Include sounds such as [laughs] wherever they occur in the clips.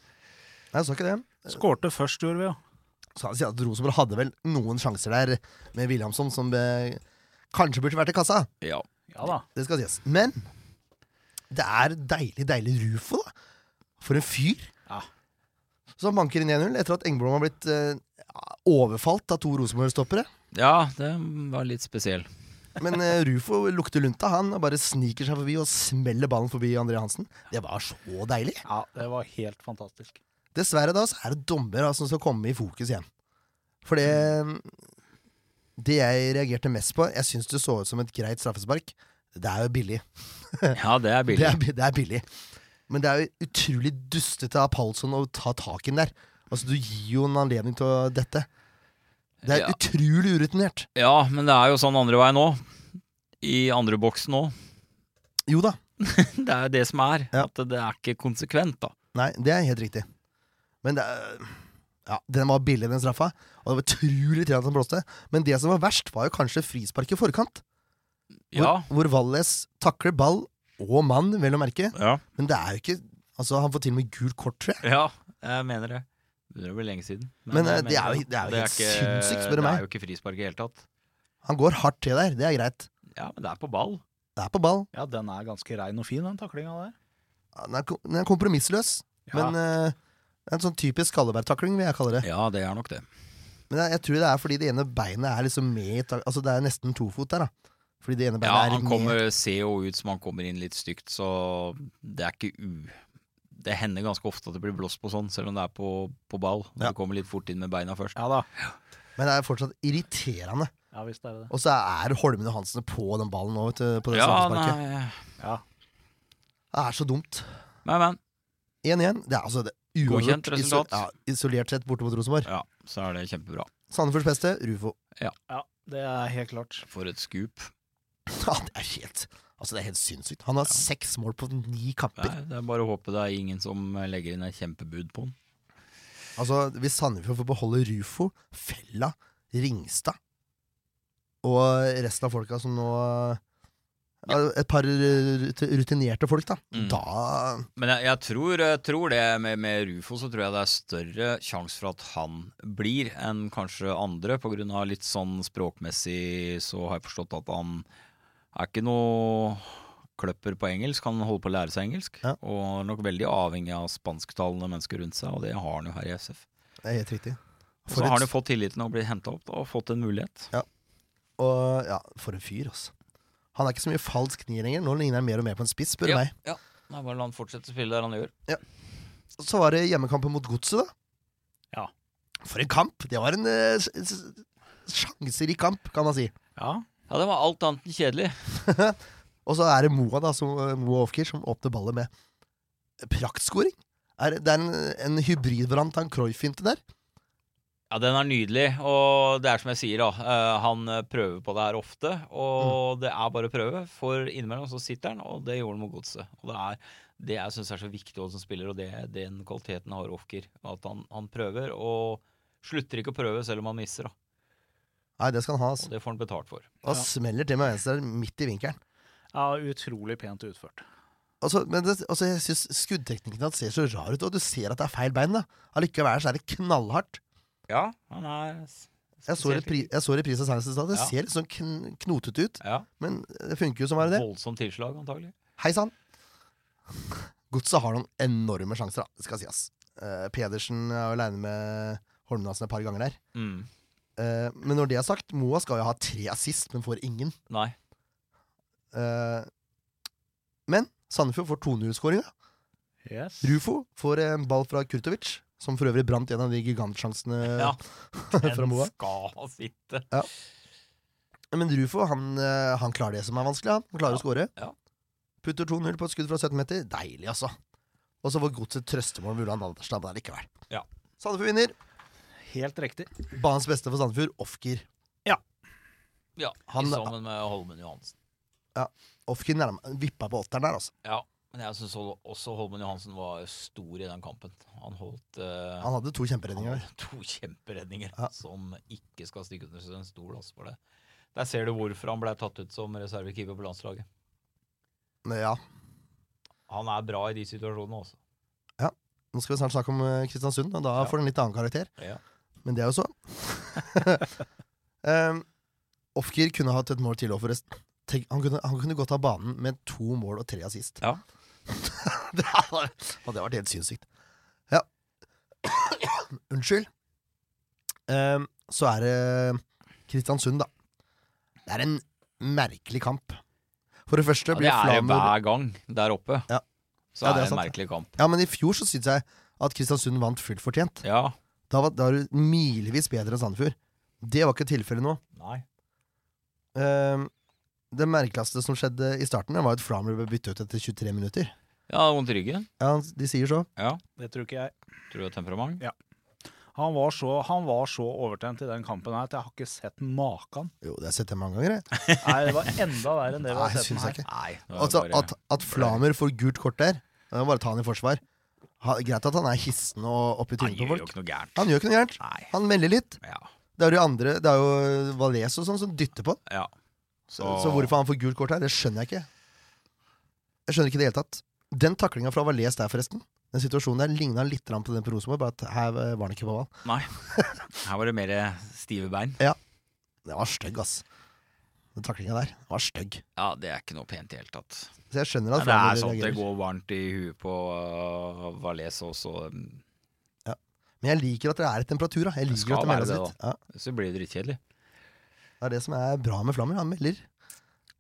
Nei, jeg så ikke det. Skårte først, gjorde vi jo. Så han sier at Rosenborg hadde vel noen sjanser der med Williamson, som eh, kanskje burde vært i kassa. Ja. Ja da. Det skal sies. Men det er deilig, deilig Rufo, da. For en fyr. Ja. Som banker inn 1-0 etter at Engblom har blitt eh, overfalt av to Rosenborg-stoppere. ja, det var [laughs] litt spesiell. Men eh, Rufo lukter lunta, han. Og bare sniker seg forbi og smeller ballen forbi André Hansen. Det var så deilig. Ja, det var helt fantastisk. Dessverre da, så er det dommer da, som skal komme i fokus igjen. For det Det jeg reagerte mest på Jeg syns det så ut som et greit straffespark. Det er jo billig. Ja, det er Det billig. er, bi- det er billig. Men det er jo utrolig dustete av Palsson å ta tak i den der. Altså, du gir jo en anledning til å dette. Det er Ja. utrolig urutinert. Ja, men det er jo sånn andre veien òg. I andre boksen òg. Jo da. [laughs] Det er jo det som er. Ja. At det er ikke konsekvent, da. Nei, det er helt riktig. Men det er Ja, den var billig, den straffa. Og det var utrolig trent at den blåste. Men det som var verst, var jo kanskje frispark i forkant. Hvor, Ja. hvor Valles takler ball og mann, vel å merke. Ja. Men det er jo ikke Altså, han får til og med gult kort, tror jeg. Ja, jeg mener det. Begynner å bli lenge siden. Men, jeg eh, det mener er jo- det er jo Og helt sinnssykt, spør du Det meg. er jo ikke frispark i det hele tatt. Han går hardt til der, det er greit. Ja, men det er på ball. Det er på ball. Ja, den er ganske rein og fin, den taklinga der. Den er, ko- den er kompromissløs. Ja. Men eh, det er en sånn typisk Skalleberg-takling, vil jeg kalle det. Ja, det er nok det. Men jeg, jeg tror det er fordi det ene beinet er liksom med i tak- Altså det er nesten tofot der, da. Fordi det ene beinet Ja, er han med kommer, ser jo ut som han kommer inn litt stygt, så det er ikke u... Det hender ganske ofte at det blir blåst på sånn, selv om det er på, på ball. Ja. Ja. Du kommer litt fort inn med beina først. Ja da. Men det er fortsatt irriterende. Ja visst er det det. Og så er Holmen og Hansen på den ballen nå, vet du. På det Ja, straffesparket. nei, Ja. Det er så dumt. men, men. 1-1. Det er altså det, Uavgjort, Godkjent resultat. isol- Ja, isolert sett borte mot Rosenborg. Ja, så er det kjempebra. Sandefjords beste, Rufo. Ja, det er helt klart. For et skup. Ja, det er helt Altså, det er helt sinnssykt. Han har seks mål på ni Nei, kamper. det er bare å håpe det er ingen som eh, legger inn et kjempebud på den. Altså, Hvis Sandefjord får beholde Rufo, Fella, Ringstad og resten av folka som nå ja, Et par rut- rutinerte folk, da. Mm. Da Men jeg, jeg, tror, jeg tror det med, med Rufo så tror jeg det er større sjanse for at han blir enn kanskje andre, på grunn av litt sånn språkmessig så har jeg forstått at han er ikke noe kløpper på engelsk, han holder på å lære seg engelsk, Ja. og er nok veldig avhengig av spansktalende mennesker rundt seg, og det har han jo her i SF. Det er helt riktig. Så For har et- han jo fått tilliten og blitt henta opp da, og fått en mulighet. Og ja, for en fyr, altså. Han er ikke så mye falsk nier lenger. Nå ligner han mer og mer på en spiss, spør du meg. Ja, da bare la han fortsette å spille der han gjør. Så var det hjemmekampen mot Godset, da. Ja. For en kamp! Det var en eh, s- s- sjanserik kamp, kan man si. Ja. Ja, det var alt annet enn kjedelig. Og så er det Moa, da, som, eh, Moa Ofkir, som åpner ballet med praktskoring. Er, det er en, en hybridvariant av en Cruyff-finte der. Ja, den er nydelig, og det er som jeg sier, da. eh, Han prøver på det her ofte, Mm. og det er bare å prøve. For innimellom så sitter han, og det gjorde han mot godset. Og det er det jeg syns er så viktig også som spiller, og det den kvaliteten har Ofker. At han, han prøver, og slutter ikke å prøve selv om han misser, da. Nei, det skal han ha. Altså. Og det får han betalt for. Og Ja. smeller til med venstre midt i vinkelen. ja, utrolig pent utført. Altså, men det, altså, jeg syns skuddteknikken hans ser så rar ut, og du ser at det er feil bein. da Allikevel så er det knallhardt. Ja, han er s- Jeg så, spesielt- repri, jeg så reprise av Science i stad. Det Ja. ser litt sånn kn knotete ut, Ja, men det funker jo som bare det. Voldsomt tilslag, antagelig. Hei sann! Godset har noen enorme sjanser, da. Det skal sies. Eh, Pedersen er jo aleine med Holmdansen et par ganger der. Mm. Eh, men når det er sagt, Moa skal jo ha tre assist, men får ingen. Nei. Eh, men Sandefjord får 2-0-skåringa. Yes. Rufo får en ball fra Kurtovic, som for øvrig brant en av de gigantsjansene [laughs] Ja. [laughs] [laughs] fra Moa. Den skal sitte. Men Rufo han, eh, han klarer det som er vanskelig. Han, han klarer Ja, å score. ja. Putter 2-0 på et skudd fra 17 meter. Deilig, altså. Og så får godset trøstemål med Ulland Andersen hadde der likevel. Ja. Sandefjord vinner. Helt riktig. Banens beste for Sandefjord, Ofker. Ja, Han- i sammen med Holmen Johansen. Ofker nærme, vippa på åtteren der, altså. Ja, men jeg syns også Holmen Johansen var stor i den kampen. Han holdt eh, Han hadde to han kjemperedninger. der. holdt [laughs] to kjemperedninger Ja. som ikke skal stikke under en stol. Altså, for det. Der ser du hvorfor han ble tatt ut som reservekeeper på landslaget. Men Ja. Han er bra i de situasjonene altså. også. Nå skal vi snart snakke om eh, Kristiansund, og da Ja. får den litt annen karakter. Ja. Men det er jo så. [laughs] um, Ofker kunne hatt et mål til òg, forresten. Tenk, han, kunne, han kunne gått av banen med to mål og tre assist. Ja. [laughs] det hadde hadde vært helt sinnssykt. Ja. [coughs] Unnskyld. Um, så er det Kristiansund, da. Det er en merkelig kamp. For det første Ja, det blir er det Flamur hver gang der oppe. Ja. Så Ja, det er er det en sant. merkelig kamp. Ja, men i fjor så syns jeg at Kristiansund vant fullt fortjent. Ja, Da var, da var du milevis bedre enn Sandefjord. Det var ikke tilfellet nå. nei. Ehm, det merkeligste som skjedde i starten, var at Flammer ble byttet ut etter 23 minutter. Ja, vondt i ryggen. Ja, de sier så. Det tror ikke jeg. Tror du det er temperament? Han var så, han var så overtent i den kampen her at jeg har ikke sett maken. Jo, det har jeg sett det mange ganger. Jeg. Nei, det var enda verre enn det vi Nei, har sett den syns jeg her. ikke. Nei. det var Altså, bare- at, at Flammer får gult kort der, det er bare å ta han i forsvar. Ha, greit at han er hissen og oppi han trynet på gjør jo folk. ikke noe gærent. Han gjør ikke noe gærent. Nei. Han melder litt. Ja. Det er jo andre, det er jo Valles og sånn som dytter på han. ja. Så, så hvorfor han får gult kort her, det skjønner jeg ikke. Jeg skjønner ikke i det hele tatt. Den taklinga fra Valais der, forresten, den situasjonen der ligna litt grann på den på Rosenborg, bare at her eh, var han ikke på ball. Her var det mer stive bein. Det var stygg, ass. Den taklinga der var stygg. Ja, det er ikke noe pent i det hele tatt. Så jeg skjønner at Nei, det er Flamur sånn at det reagerer. går varmt i huet på uh, Valais også. um, Men jeg liker at det er temperatur, da. Jeg Det liker skal at det melder være seg det, litt. Ja, Så blir det drittkjedelig. det er det som er bra med Flammer, han melder.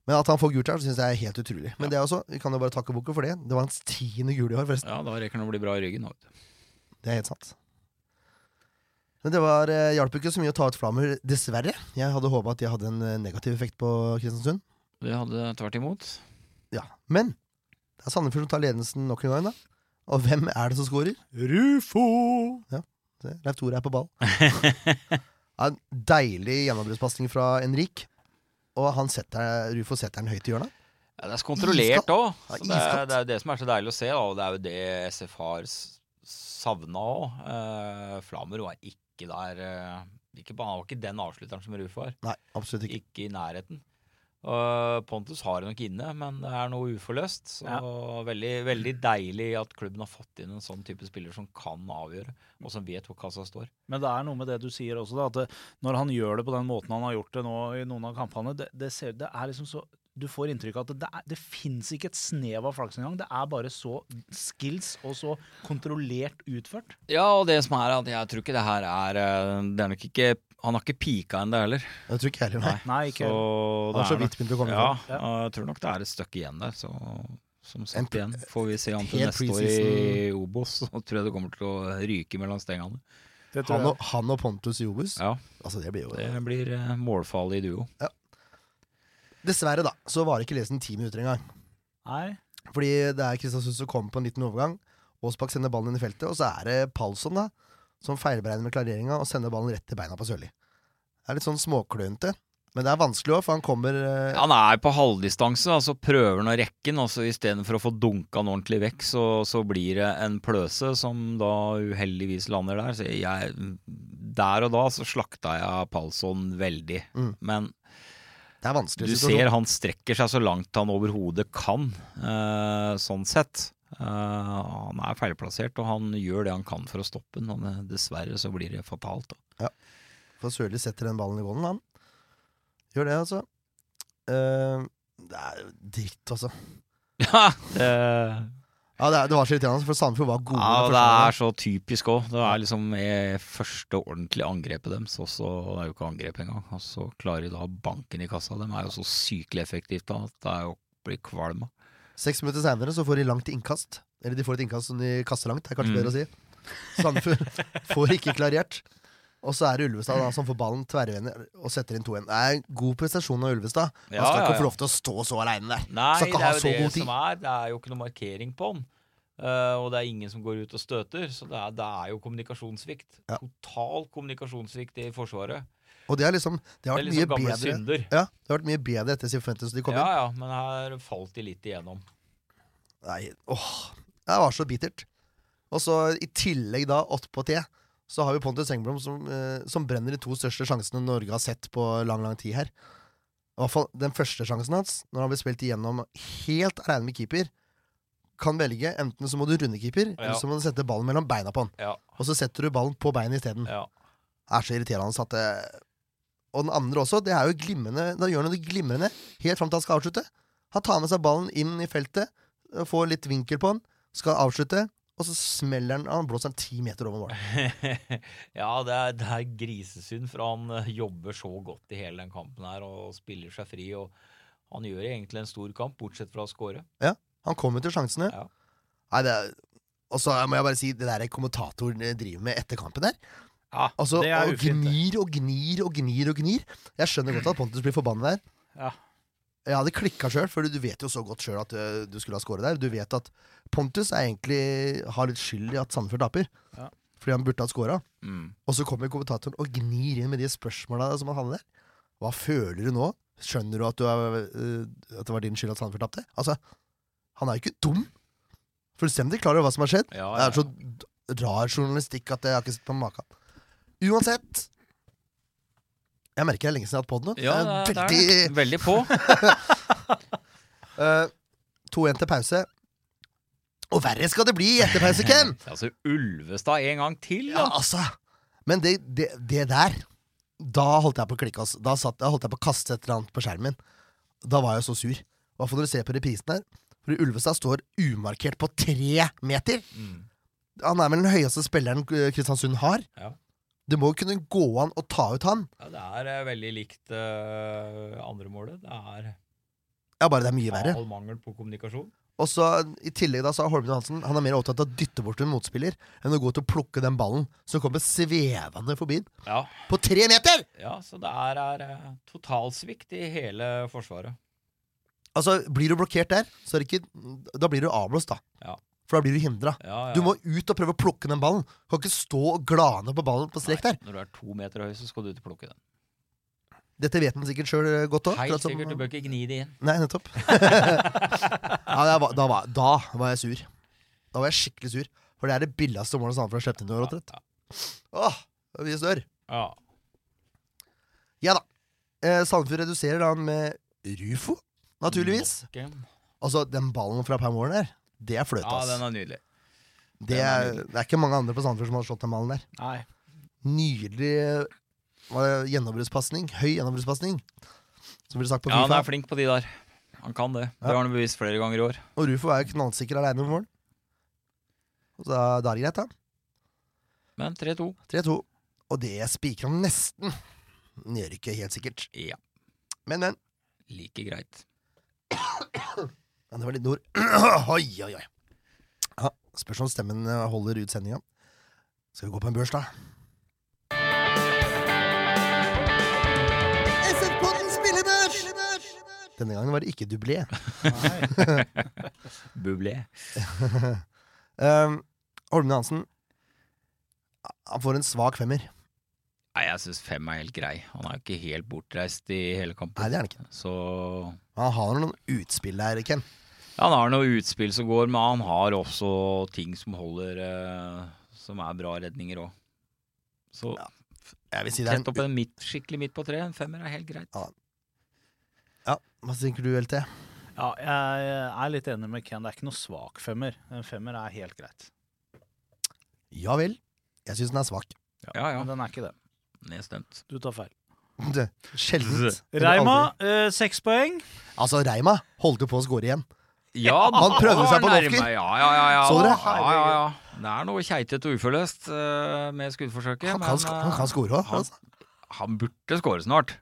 Men at han får gult her, syns jeg er helt utrolig. Men det er også, vi kan jo bare takke boka for det. Det var hans tiende gule i år, forresten. Ja, da rekker han å bli bra i ryggen. Vet du. Det er helt sant. Men det var, eh, hjalp ikke så mye å ta ut Flammer, dessverre. Jeg hadde håpa at de hadde en eh, negativ effekt på Kristiansund. Det hadde tvert imot. Ja, Men det er Sandefjord som tar ledelsen nok en gang. da Og hvem er det som scorer? Rufo! Se, Leif Tore er på ball. Ja, en deilig gjennombruddspasning fra Henrik. Og han setter, Rufo setter den høyt i hjørnet. Ja, det er så kontrollert òg. Ja, det, er- iskaldt. det er jo det som er så deilig å se, da, og det er jo det SF har s- savna òg. Uh, Flamer var ikke der eh, ikke, på- Han var ikke den avslutteren som Rufo var. Nei, absolutt ikke. Ikke i nærheten. Og Pontus har det nok inne, men det er noe uforløst. Så veldig, veldig deilig at klubben har fått inn en sånn type spiller som kan avgjøre, og som vet hvor kassa står. Men det er noe med det du sier også, da, at det, når han gjør det på den måten han har gjort det nå i noen av kampene, det, det, ser, det er liksom så du får inntrykk av at det, er- det fins ikke et snev av flaks engang. Det er bare så skills og så kontrollert utført. Ja, og det som er at jeg tror ikke det her er eh, Det er nok ikke Han har ikke pika ennå heller. Jeg tror ikke jeg heller, nei. Nei, ikke Så Han det har så er nok vidt begynt å komme i Ja, gang. Ja. og jeg tror nok det er et stykke igjen der. Så som En sagt pre- igjen får vi se om til hel neste år i Obos. Så tror jeg det kommer til å ryke mellom stengene. Det tror Han, jeg. og- han og Pontus i Obos. Ja. Altså, det blir jo Det blir eh, målfarlig duo. Dessverre, da, så varer ikke lesen ti minutter engang. Nei. Fordi det er Kristiansund som kommer på en liten overgang. Aasbakk sender ballen inn i feltet, og så er det Palsson da, som feilberegner med klareringa og sender ballen rett til beina på Sørli. Det er litt sånn småklønete. Men det er vanskelig òg, for han kommer eh, Han er på halvdistanse, og så prøver han å rekke den. altså og så Istedenfor å få dunka den ordentlig vekk, så, så blir det en pløse som da uheldigvis lander der. Så jeg, der og da så slakta jeg Palsson veldig. Mm. Men Det er vanskelig Du ser han strekker seg så langt han overhodet kan, eh, sånn sett. Eh, han er feilplassert, og han gjør det han kan for å stoppe den. Men eh, dessverre så blir det fatalt. Da. For Sørli setter den ballen i gålen, han. Gjør det, altså. Eh, det er jo dritt, altså. Ja, det, Ja, det, er, det var så irriterende, for Sandefjord var gode. ja, og første det gangen. er så typisk òg. Det er liksom eh, første ordentlige angrepet deres. Og så og det er jo ikke angrep engang. Og så klarer de da banken i kassa. De er jo så sykelig effektivt da at det er jo blir kvalm av. Seks minutter senere så får de langt innkast. Eller de får et innkast som de kaster langt, er kanskje Mm. bedre å si. Sandefjord [laughs] får ikke klarert. Og så er det Ulvestad da, som får ballen tverrvender og setter inn 2-1. Det er en god prestasjon av Ulvestad. Han skal ikke få lov til å stå så aleine der. Nei, Skal det ikke er ha jo så det god tid. som er. Det er jo ikke noe markering på den. Eh, og det er ingen som går ut og støter, så det er, det er jo kommunikasjonssvikt. Ja. Total kommunikasjonssvikt i Forsvaret. Og det, er liksom, det, Det har er vært liksom mye gamle bedre, synder. ja, det har vært mye bedre etter Sifuentes de kom Ja, inn. ja, men her falt de litt igjennom. Nei, åh, det var så bittert. Og så i tillegg da, åttpå te, så har vi Pontus Engblom som, eh, som brenner de to største sjansene Norge har sett på lang, lang tid her. I hvert fall den første sjansen hans, når han blir spilt igjennom helt aleine med keeper, kan velge enten så må du runde keeper, eller så må du sette ballen mellom beina på han. Ja. Og så setter du ballen på beinet isteden. Ja. Det er så irriterende at det Og den andre også, det er jo glimrende. Da gjør han det glimrende helt fram til han skal avslutte. Han tar med seg ballen inn i feltet, og får litt vinkel på den, skal avslutte, og så smeller han Han blåser den ti meter over målet. ja, det er, det er grisesynd, for han eh, jobber så godt i hele den kampen her og spiller seg fri. og han gjør egentlig en stor kamp, bortsett fra å score. Han kommer til sjansene. Ja. Nei, det er og så må jeg bare si, det der kommentatoren driver med etter kampen der Ja, altså, det er Og ufint. det. gnir og gnir og gnir og gnir. Jeg skjønner godt at Pontus blir forbanna der. Ja. Jeg hadde klikka sjøl, for du vet jo så godt sjøl at ø, du skulle ha skåret der. Du vet at Pontus er egentlig har litt skyld i at Sandefjord taper, Ja. fordi han burde ha skåra. Mm. Og så kommer kommentatoren og gnir inn med de spørsmåla som han hadde der. Hva føler du nå? Skjønner du at, du er, eh, at det var din skyld at Sandefjord tapte? Altså, han er jo ikke dum! Fullstendig klar over hva som har skjedd. Ja, Det er så d- rar journalistikk at jeg har ikke sett på maken. Uansett Jeg merker det er lenge siden jeg har hatt pod nå. ja, Jeg det er er det. Veldig på. veldig, eh, 2-1 til pause. Og verre skal det bli i etterpause, Ken! [laughs] altså, Ulvestad en gang til, da. Ja, altså. Men det, det, det der Da holdt jeg på å klikke. Altså. Da, satt, da holdt jeg på å kaste et eller annet på skjermen min. Da var jeg så sur. I hvert fall når du ser på reprisen der. Fordi Ulvestad står umarkert på tre meter. Mm. Han er vel den høyeste spilleren eh, Kristiansund har. Ja. Det må jo kunne gå an å ta ut han. Ja, det er eh, veldig likt eh, andre målet. Det er Ja, bare det er mye verre. all mangel på kommunikasjon. Og så I tillegg da sa Holmen Johansen Han er mer opptatt av å dytte bort en motspiller enn å gå til å plukke den ballen som kommer svevende forbi. Ja, På tre meter! ja så det er, er eh, totalsvikt i hele Forsvaret. Altså, blir du blokkert der, så er det ikke Da blir du avblåst, da. Ja. For for da blir du hindra. Ja, ja. Du må ut og prøve å plukke den ballen. Du kan ikke stå og glane på ballen på strek der. Nei, Når du er to meter høy, så skal du ut og plukke den. Dette vet han sikkert sjøl godt òg. Helt sikkert, du bør ikke gni det inn. Nei, [laughs] nettopp. ja, da, var, da, var, da var jeg sur. Da var jeg skikkelig sur. For det er det billigste målet Sandefjord har sluppet inn i år. Ja, Åh, det er mye snørr. ja. Ja da. Eh, Sandefjord reduserer da med Rufo, naturligvis. Ja, Altså, den ballen fra Pam Warren der, det er fløte, Ja, ass. den er nydelig. det, er, det er ikke mange andre på Sandefjord som har slått den ballen der. Nei. Nydelig eh, var det gjennombruddspasning. Høy gjennombruddspasning. Som blir sagt på Ja, han FIFA. er flink på de der. Han kan det. Det har han bevist flere ganger i år. Og Rufo er jo knallsikker aleine om våren. Så da da er det greit, da. Men 3-2. 3-2. Og det spikrer han nesten. Han gjør ikke helt sikkert. Ja, Men, men. like greit. Ja, det var litt nord. [clears throat] oi, oi, oi. Ja, spørs om stemmen eh, holder ut sendinga. Skal vi gå på en børs, da? Denne gangen var det ikke dublé. Bublé. Um, Holmene Hansen Han får en svak femmer. Nei, jeg syns fem er helt grei. Han er jo ikke helt bortreist i hele kampen. Nei, det er han ikke. Så Han har noen utspill der, Ken. Han har noe utspill som går, men han har også ting som holder eh, Som er bra redninger òg. Så Ja, Jeg vil si det er tett en opp en midt, skikkelig midt på tre. En femmer er helt greit. Ja. Ja, Hva tenker du, LT? Ja, jeg er litt enig med Ken. Det er ikke noe svak femmer. En femmer er helt greit. Ja vel. Jeg syns den er svak. [laughs] Ja ja, Men den er ikke det. nedstemt. Du tar feil. Det- Sjeldent. Eller Reima, aldri. eh, seks poeng. Altså, Reima holdt jo på å score igjen. Ja, Han prøvde seg på en nærme- offker. Ja, ja, ja, ja. Så dere? Ja, ja, ja. Det er noe keitete og uforløst eh, med skuddforsøket. Han men, kan, sk han eh, kan score òg. han- Altså. han burde skåre snart.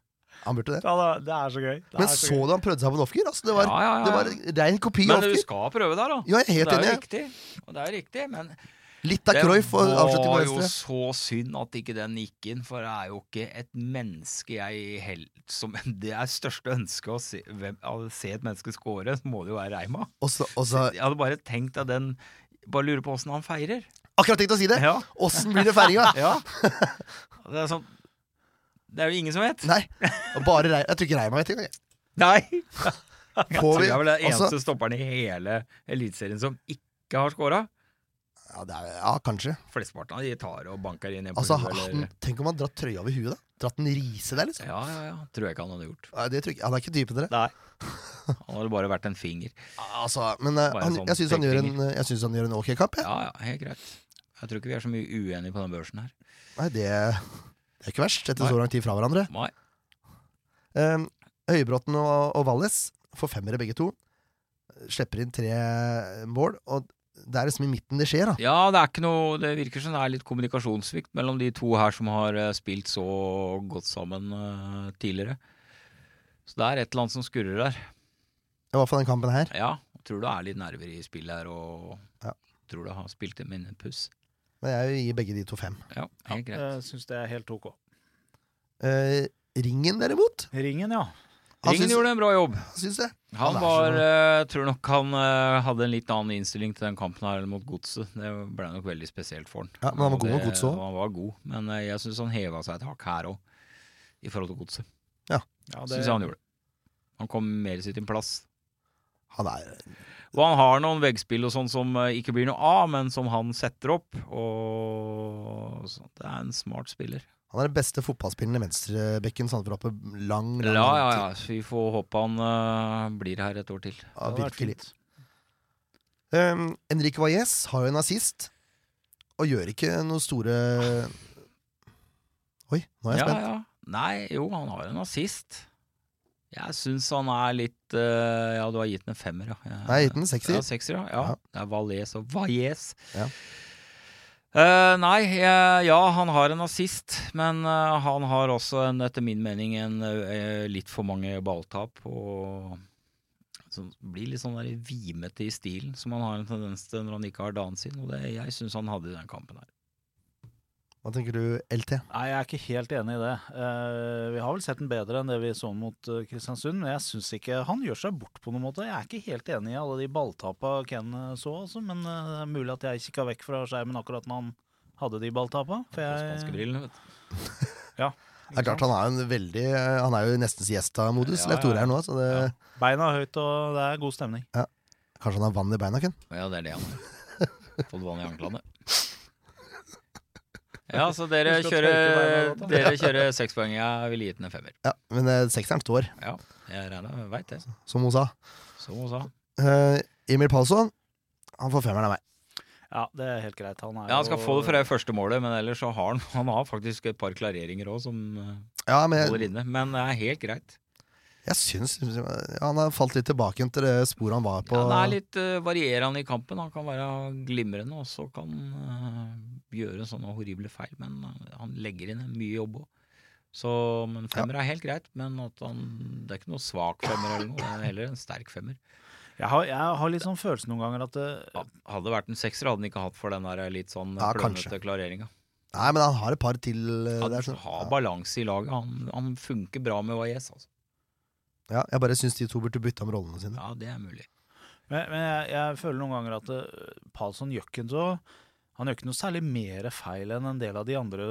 Han burde det. Ja, da, det er så gøy. Det Men er så du han prøvde seg på en offker? Altså, det, var, Ja, ja, ja. det var rein kopi av Men du offker. skal prøve der, da. Ja, jeg er helt det er jo enig. riktig. Og det er riktig, men Litt av Cruyff og avslutning var med jo venstre. så synd at ikke den gikk inn, for det er jo ikke et menneske jeg helt, som [laughs] Det er største ønske å se, hvem, å se et menneske score, så må det jo være Reima. Og så, og så, Jeg hadde bare tenkt at den Bare lurer på åssen han feirer. akkurat tenkt å si det! Ja, Åssen blir det [laughs] feiringa? ja. Det er sånn Det er jo ingen som vet. Nei, bare Reima. Jeg tror ikke Reima vet engang. jeg. [laughs] Nei! Jeg Får tror vi- jeg er vel den eneste altså- stopperen i hele Eliteserien som ikke har scora. Ja, det er, ja kanskje. Flesteparten av de tar og banker inn en på Altså, huet, han, eller tenk om han dratt trøya over huet, da. Dratt en rise der, liksom. Ja, ja, ja. Tror jeg ikke han hadde gjort. Nei, det tror jeg, ikke- han er ikke typen til det. Han hadde bare vært en finger. Altså, men eh, Bare han, sånn jeg syns han, gjør en, pekefinger. eh, jeg synes han gjør en ok kamp, jeg. Ja, ja, helt greit. Jeg tror ikke vi er så mye uenige på den børsen her. Nei, det, det er ikke verst, etter Nei. så lang tid fra hverandre. Nei. Um, Høybråten og, og Valles får femmere begge to. Slipper inn tre mål, og det er liksom i midten det skjer, da. Ja, det er ikke noe Det virker som det er litt kommunikasjonssvikt mellom de to her som har eh, spilt så godt sammen eh, tidligere. Så det er et eller annet som skurrer der. I hvert fall den kampen her. Ja, tror det er litt nerver i spillet her, og Ja. tror det har spilt dem inn en puss. Men jeg gir begge de to fem. Ja, helt greit. Jeg syns det er helt OK. Eh, ringen, derimot, Ringen, ja. han Ringen syns- gjorde en bra jobb. syns jeg. Han er var, så- eh, tror nok han eh, hadde en litt annen innstilling til den kampen her mot Godset. Det ble nok veldig spesielt for han. Ja, men han var Og god det- mot Godset også. Han var god, men eh, jeg syns han heva seg et hakk her òg, i forhold til Godset. ja Synes Syns jeg han gjorde. Han kom mer til sin plass. Han er Og han har noen veggspill og sånn som eh, ikke blir noe av, men som han setter opp. Og så, det er en smart spiller. Han er den beste fotballspilleren i venstrebekken sånn Sandefjord har på lang, lang Ja, ja, ja. Så vi får håpe han eh, blir her et år til. tid. Ja, virkelig. Um, Enrique Valles har jo en assist, og gjør ikke noe store Oi, nå er jeg Ja, spent. ja. Nei, jo, han har en assist. Jeg syns han er litt eh, Ja, du har gitt den en femmer, ja. Nei, jeg Jeg- har gitt den en sekser. Ja, sekser, ja. ja. Ja. Det er Valais og Valles. Ja. Eh, nei, eh, ja, han har en assist, men eh, han har også, en, etter min mening, en, eh, litt for mange balltap. Og som blir litt sånn der vimete i stilen, som han har en tendens til når han ikke har dagen sin. Og det jeg syns han hadde i den kampen her. Hva tenker du, LT? Nei, jeg er ikke helt enig i det. Eh, vi har vel sett den bedre enn det vi så mot eh, Kristiansund, men jeg syns ikke Han gjør seg bort på noen måte. Jeg er ikke helt enig i alle de balltapa Ken eh, så, altså, men eh, det er mulig at jeg kikka vekk fra skjermen akkurat når han hadde de balltapa. For Spanske jeg, brillen, vet du. Ja, Det er klart Han er jo en veldig eh, Han er jo nesten siesta-modus, Ja, Leif Tore her nå. Så det, beina høyt, og det er god stemning. Kanskje han har vann i beina, Ken? Ja, det er det han har. [laughs] Fått vann i anklene. Ja, så dere Husk å kjører, tørke beina godt, da. [laughs] dere kjører sekspoeng. Jeg ville gitt den en femmer. Ja, Men eh, sekseren står, Ja, jeg regner med veit det. som hun sa. Som hun sa. Eh, Emil Palsson Han får femmeren av meg. Ja, det er helt greit. Han er Ja, Han skal jo- få det for det første målet, men ellers så har han, han har faktisk et par klareringer òg som eh, Ja, men jeg, holder inne. Men det er helt greit. jeg syns ja, han har falt litt tilbake igjen til det sporet han var på. Ja, han er litt eh, varierende i kampen. Han kan være glimrende, og så kan eh, gjøre sånne horrible feil. Men eh, han legger inn mye jobb òg. Så men femmer er helt greit, men at han, det er ikke noe svak femmer eller noe. Det er heller en sterk femmer. Jeg har, jeg har litt sånn følelse noen ganger at det, Ja, Hadde det vært en sekser, hadde han ikke hatt for den der litt sånn Ja, ja, kanskje. klønete klareringa. Nei, men han har et par til eh, Han der. skjønner du. har balanse i laget. Han, han funker bra med Wajez, altså. Ja, ja, jeg bare syns de to burde bytte om rollene sine. Ja, det er mulig. Men, men jeg, jeg føler noen ganger at uh, Palsson gjør ikke så Han gjør ikke noe særlig mer feil enn en del av de andre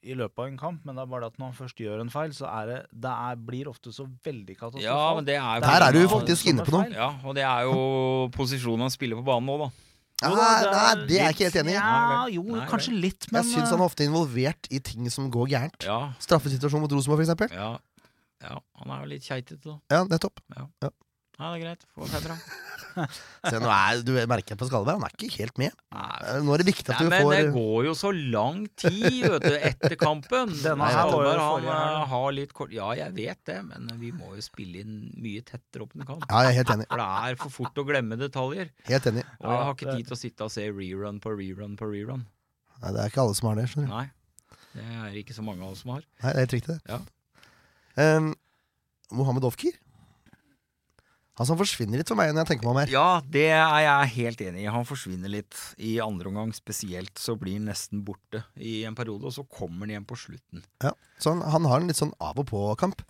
i løpet av en kamp, men det er bare det at når han først gjør en feil, så er det, det er, blir ofte så veldig katastrofalt. Ja, men det er jo Der er du Ja, faktisk inne på noe. Ja, og det er jo posisjonen han spiller på banen nå, da. Jo, Nei, det nei, er det er jeg ikke helt enig i. Ja, jo, Nei, vel. kanskje litt, men eh, Jeg syns eh, han er ofte involvert i ting som går gærent. Ja, Straffesituasjon mot Rosenborg, for eksempel. ja, ja. Han er jo litt keitete, da. Ja, nettopp. Nei, det er greit. Få femmera. [laughs] Se, nå er, du merker på Skalberg, han er ikke helt med. Nei, Eh, Nå er det viktig at Nei, du men det får går jo så lang tid, vet du, etter kampen. Denne her Skalberg, var jo forrige han, helg, da. eh, har litt kort Ja, jeg vet det, men vi må jo spille inn mye tettere opp enn kamp. Ja, jeg er helt enig. For det er for fort å glemme detaljer. Helt enig. Og jeg har Ja, ikke det- tid til å sitte og se rerun på rerun på rerun. Nei, det er ikke alle som har det. skjønner du Nei. Det er ikke så mange av oss som har. Nei, det er helt riktig, det. Ja. Em, Mohammed Ofkir. Altså, Han som forsvinner litt for meg når jeg tenker meg om her. Ja, det er jeg helt enig i. Han forsvinner litt. I andre omgang spesielt så blir han nesten borte i en periode, og så kommer han igjen på slutten. Så han, han har en litt sånn av og på-kamp.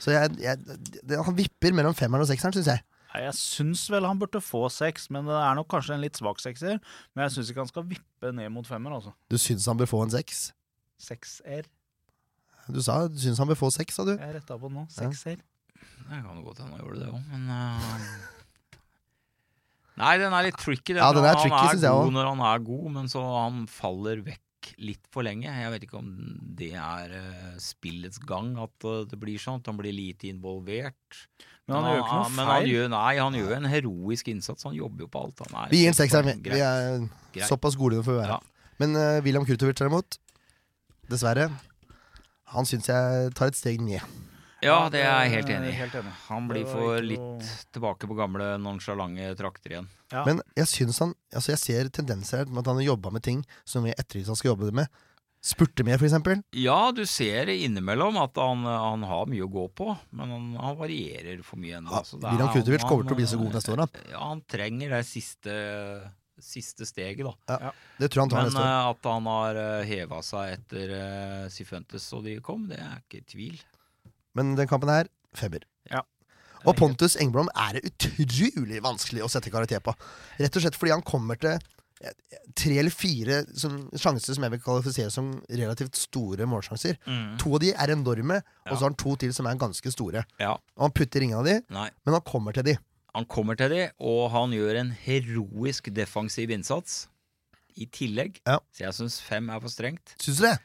Så jeg, jeg, det, han vipper mellom femmeren og sekseren, syns jeg. Nei, jeg syns vel han burde få seks, men det er nok kanskje en litt svak sekser. Men jeg syns ikke han skal vippe ned mot femmer, altså. Du syns han bør få en seks? Sekser. Du sa du syns han bør få seks, sa du. Jeg retta på den nå. Ja. Sekser. Det kan jo godt hende han gjorde det òg, men eh, Nei, den er litt tricky. Ja, den er han tricky, er synes jeg god også. når han er god, men så han faller vekk litt for lenge. Jeg vet ikke om det er eh, spillets gang at eh, det blir sånn. at Han blir lite involvert. Ah, Men han gjør jo ikke noe men han feil. gjør- nei, han gjør en heroisk innsats. Han jobber jo på alt. Han er Vi gir en sekser. vi. Vi Greit. er Greit. såpass gode det får være. Ja. Men eh, William Kurtovic derimot, dessverre, han syns jeg tar et steg ned. Ja, det er jeg helt det er enig i. jeg helt enig i. Han Det blir var for ikke litt noe- tilbake på gamle nonsjalante trakter igjen. Ja. Men jeg syns han Altså jeg ser tendenser her med at han har jobba med ting som jeg etterlyser han skal jobbe med. Spurte mer, for eksempel. Ja, du ser innimellom at han, han har mye å gå på, men han, han varierer for mye ennå. Ja, så altså, det er- William Kurtovic han- eh, kommer til å bli så god neste år, da. Ja, han trenger det siste, siste steget, da. Det tror jeg han tar Men neste år. eh, at han har heva seg etter eh, Sifuentes og de kom, det er ikke tvil. eh, Men den kampen her, femmer. Ja. Og Pontus Engblom er det utrolig vanskelig å sette karakter på. Rett og slett fordi han kommer til eh, tre eller fire som, sjanser som jeg vil kvalifisere som relativt store målsjanser. To av de er enorme, og Mm. Ja. så har han to til som er ganske store. Ja. Og han putter ingen av de, Nei, men han kommer til de. han kommer til de, og han gjør en heroisk defensiv innsats i tillegg. Ja. Så jeg syns fem er for strengt. Syns du det?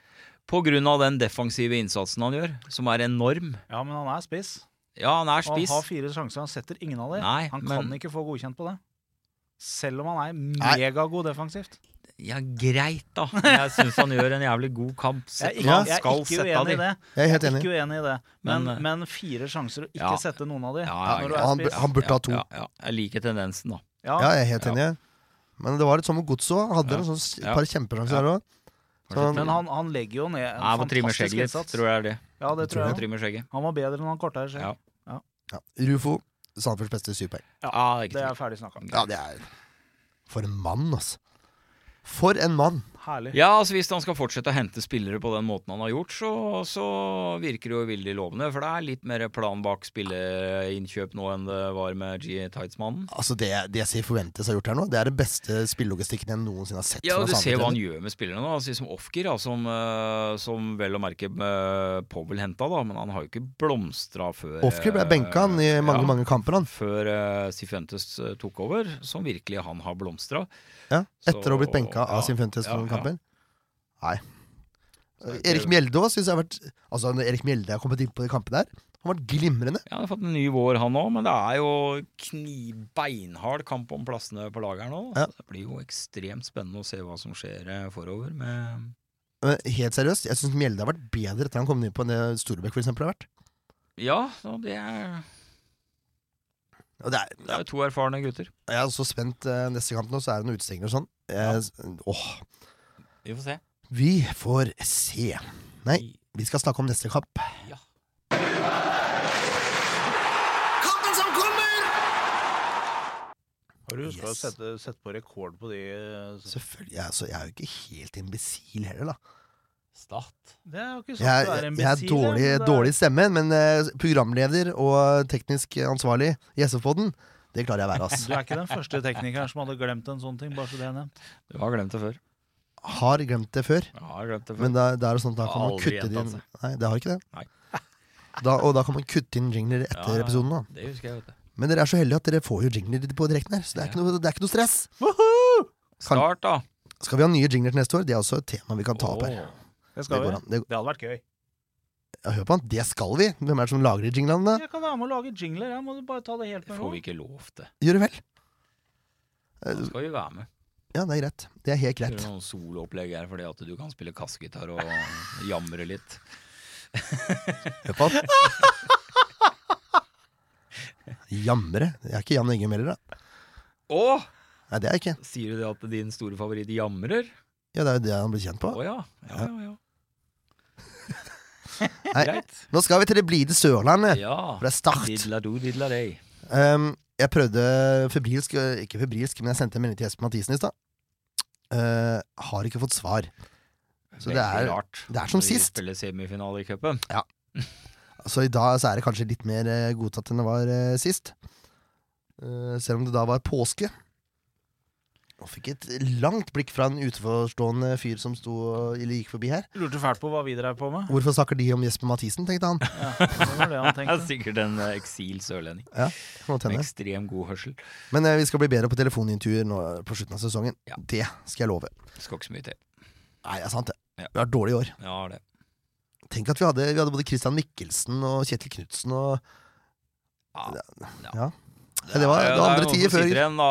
På grunn av den defensive innsatsen han gjør, som er enorm. Ja, men han er spiss. Ja, han Og er han spiss. har fire sjanser, han setter ingen av dem. Nei, han men- kan ikke få godkjent på det. Selv om han er Nei. megagod defensivt. Ja, greit, da. [laughs] Jeg syns han gjør en jævlig god kamp. Jeg er Sett ikke, når han jeg er skal ikke sette av uenig i de. det. Jeg er helt Jeg er enig. ikke uenig i det. Men, Men, eh, men fire sjanser og ikke ja. sette noen av de. Ja, ja, Ja, når du ja, er han, bu- spiss. han burde ha to. Ja, ja. Jeg liker tendensen, da. Ja, Ja, jeg er helt enig. Men det var litt sånn med Godset òg. Hadde Ja. en sånn s- Ja. par kjempesjanser Ja. der òg. Kanskje Men Men ikke. han, han legger jo ned en Nei, jeg må trimme fantastisk skjegget litt, innsats. tror jeg er det. Ja, det tror Jeg jeg. trimmer skjegget. Han var bedre når han kortere skjegg. Ja. Ja. Rufo, Sandefjords beste syvpoeng. Ja, det er ikke Det tvil. er ferdig snakka. Ja, det er For en mann, altså. For en mann. Herlig. Ja, altså Hvis han skal fortsette å hente spillere på den måten han har gjort, så, så virker det jo veldig lovende. For det er litt mer plan bak spillerinnkjøp nå enn det var med G. Tidesmannen. Altså det, det jeg ser forventes har gjort her nå, det er den beste spillelogistikken jeg noensinne har sett. Ja, fra og Du ser hva han Sandefjord. gjør med spillerne nå. Altså, som Ofker, da, som, eh, som vel å merke eh, Powell henta, da, men han har jo ikke blomstra før Ofker ble eh, benka han i mange, ja. mange kamper, han. Før uh, Sifuentes eh, tok over, som virkelig han har blomstra. Ja, etter å ha blitt Så- benka av ja, Sinfuentes ja, for noen ja. kamper. Nei. Erik Mjelde òg syns jeg har vært Altså, når Erik Mjelde har kommet inn på de kampene her, han har vært glimrende. Ja, Han har fått en ny vår, han òg, men det er jo knibeinhard kamp om plassene på laget her nå. Ja. Så Det blir jo ekstremt spennende å se hva som skjer eh, forover med Men Helt seriøst, jeg syns Mjelde har vært bedre etter han kom inn på enn det Storebekk for eksempel har vært. Ja, så det er, Og det er, det er jo to erfarne gutter. jeg er så spent. eh, Neste kamp nå, så er det noen utestengninger og sånn. Jeg, Åh. Vi får se. Vi får se. Nei, vi skal snakke om neste kamp. Kampen som kommer! Har du huska Yes. å sette, sette på rekord på de eh, s- Selvfølgelig, jeg, altså, jeg er jo ikke helt imbesil heller, da. Stat. Det er jo ikke Sånn sant. Jeg, du er jeg, en jeg er besil, dårlig, men det er- dårlig i stemmen, men eh, programleder og teknisk ansvarlig i SF-podden, det klarer jeg å være, [laughs] Du ass. er ikke den første teknikeren som hadde glemt en sånn ting, bare så det er nevnt. Du har glemt det før. Har glemt det før, Ja, jeg har glemt det før. men da, da er det sånn at da kan man Aldri kutte det gjentatt inn seg. Nei, det har ikke Nei. det. Da, og da kan man kutte inn jingler Ja, etter ja. episoden. da Det husker jeg, vet du. Men dere er så heldige at dere får jo jingler på direkten her, så det er ikke noe, det er ikke noe stress. Kan- Start, da. Skal vi ha nye jingler til neste år? Det er også et tema vi kan ta opp her. Åh. Det Det skal vi. går an. Det, Det hadde vært gøy. ja, hør på han, det skal vi! Hvem er det som lager de jinglene? da? Jeg kan være med å lage jingler. Jeg må du bare ta det helt Det med får ro. vi ikke lov til. Gjør det vel? Da skal vi være med. Ja, det er greit. Eh, Det er helt Det er greit. noen soloopplegg her fordi at du kan spille kassegitar og [laughs] jamre litt. Hør på han. Jamre? Jeg er ikke Jan Eggum heller, da. Åh! Nei, det er jeg ikke. Sier du det at din store favoritt jamrer? Ja, det er jo det han blir kjent Å på. ja. Ja, ja, ja. Nei, [laughs] Greit. nå skal vi til det blide Sørlandet, Ja. for det er Start. Didla do, didla day. Um, jeg prøvde febrilsk, øh, ikke febrilsk, men jeg sendte en melding til Espen Mathisen i stad. Uh, har ikke fått svar. Så det Veldig er- rart. det er som når de sist. Spiller semifinale i cupen. Så i dag så er det kanskje litt mer eh, godtatt enn det var eh, sist. Eh, selv om det da var påske. Og fikk et langt blikk fra en utenforstående fyr som sto, og- eller gikk forbi her. Lurte fælt på hva vi drev på med. Hvorfor snakker de om Jesper Mathisen, tenkte [laughs] han. Ja, det var det han [laughs] Det er tenkte. sikkert en eh, eksil sørlending. Kan godt Med hende. ekstrem god hørsel. Men eh, vi skal bli bedre på telefonintervjuer nå eh, på slutten av sesongen. Ja. Det skal jeg love. Skal ikke så mye til. Nei, det er sant, det. Ja. Vi har dårlig i år. Ja, det. Tenk at vi hadde, vi hadde både Christian Mikkelsen og Kjetil Knutsen og Ja. Ja. Ja, det var- er- det var andre er noen som tider før. [laughs] sitter Igjen, da.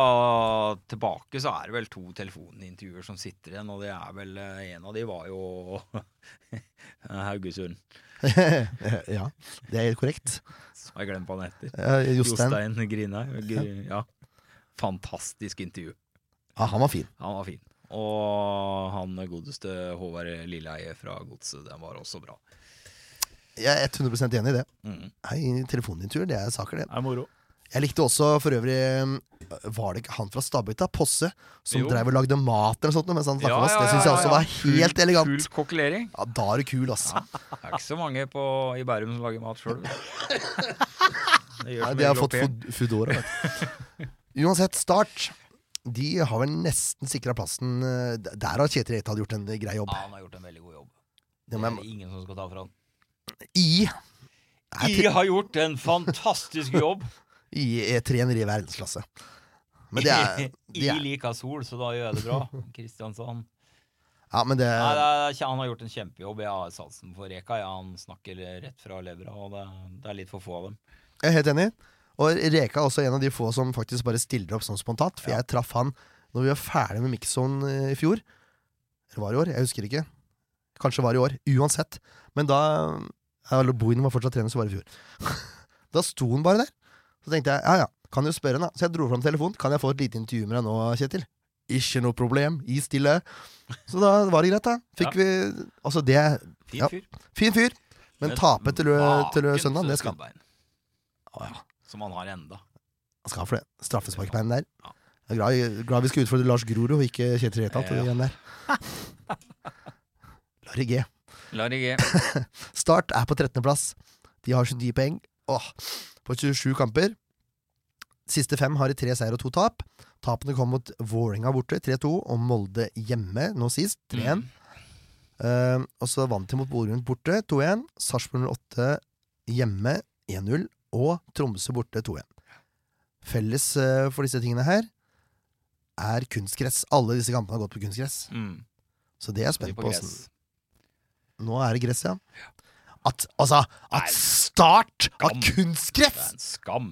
Tilbake så er det vel to telefonintervjuer som sitter igjen, og det er vel eh, En av de var jo [laughs] Haugesund. Ja, det er helt korrekt. Så har jeg glemt hva han heter. Eh, Jostein. Jostein Grinhaug. Gr- Ja. Fantastisk intervju. Ja, han var fin. Han var fin. Og han godeste Håvard Lilleheie fra Godset, den var også bra. Jeg er 100 enig i det. Mm. Nei, telefonintervjuer, det er saker, det. Det er moro. Jeg likte også for øvrig um, Var det ikke han fra Stabæk, da? Posse? Som Jo. dreiv og lagde mat eller noe sånt mens han snakket Ja, med oss. ja, Det ja, syns jeg ja, også ja. var helt elegant. Full kokkelering. Ja, da er du kul, ass. Det er ikke så mange på, i Bærum som lager [laughs] mat sjøl. Nei, de har fått fod- Foodora. vet du. Uansett, Start De har vel nesten sikra plassen. eh, d- Der har Kjetil Rekdal gjort en grei jobb. Ja, han har gjort en veldig god jobb. Det Det må er jeg, ingen som skal ta fra han. I er De har gjort en fantastisk jobb! tre- I er trener i verdensklasse. [laughs] Men det [laughs] er, de I er lika sol, så da gjør jeg [laughs] det bra. Kristiansand. Ja, men det Nei, det er, kje- han har gjort en kjempejobb. Jeg har satsen for Reka. Ja, han snakker rett fra levra, og det, det er litt for få av dem. Jeg er helt enig. Og Reka er også en av de få som faktisk bare stiller opp sånn spontant. For jeg traff han når vi var ferdig med Mixon eh, i fjor. Eller var det i år? Jeg husker ikke. Kanskje var det i år. Uansett. Men da ja, eller Bohin var fortsatt trener, så var det i fjor. [laughs] da sto han bare der. Så tenkte jeg ja ja, kan jo spørre han da. Så jeg dro fram telefonen. Kan jeg få et lite intervju med deg nå, Kjetil? Ikke noe problem. I stille. Så da var det greit, da. Fikk vi Altså, det Fin Ja. fyr. Fin fyr. Men tape til, lø- til lø- Maken søndag, til det skal han. skuddbein, Å, ja. Som han har enda. Han skal ha for det. Straffesparkbein der. Ja. Jeg er glad, glad vi skal utfordre Lars Grorud og ikke Kjetil Rekdal til det Ja. igjen der. [laughs] Larry G. Larry G. Start er på 13. plass. De har 29 poeng. Åh, på 27 kamper. Siste fem har de tre seier og to tap. Tapene kom mot Vålerenga borte 3-2 og Molde hjemme nå sist 3-1. Eh, og så vant de mot Bodø Glimt borte 2-1. Sarpsborg 08 hjemme 1-0. Og Tromsø borte 2-1. Felles eh, for disse tingene her er kunstgress. Alle disse kampene har gått på kunstgress. Mm. Så det er jeg Så de spent på på. gress. hvordan- Nå er det gress, ja. At, altså, at Start har Skam. Det kunstgress! er en skam.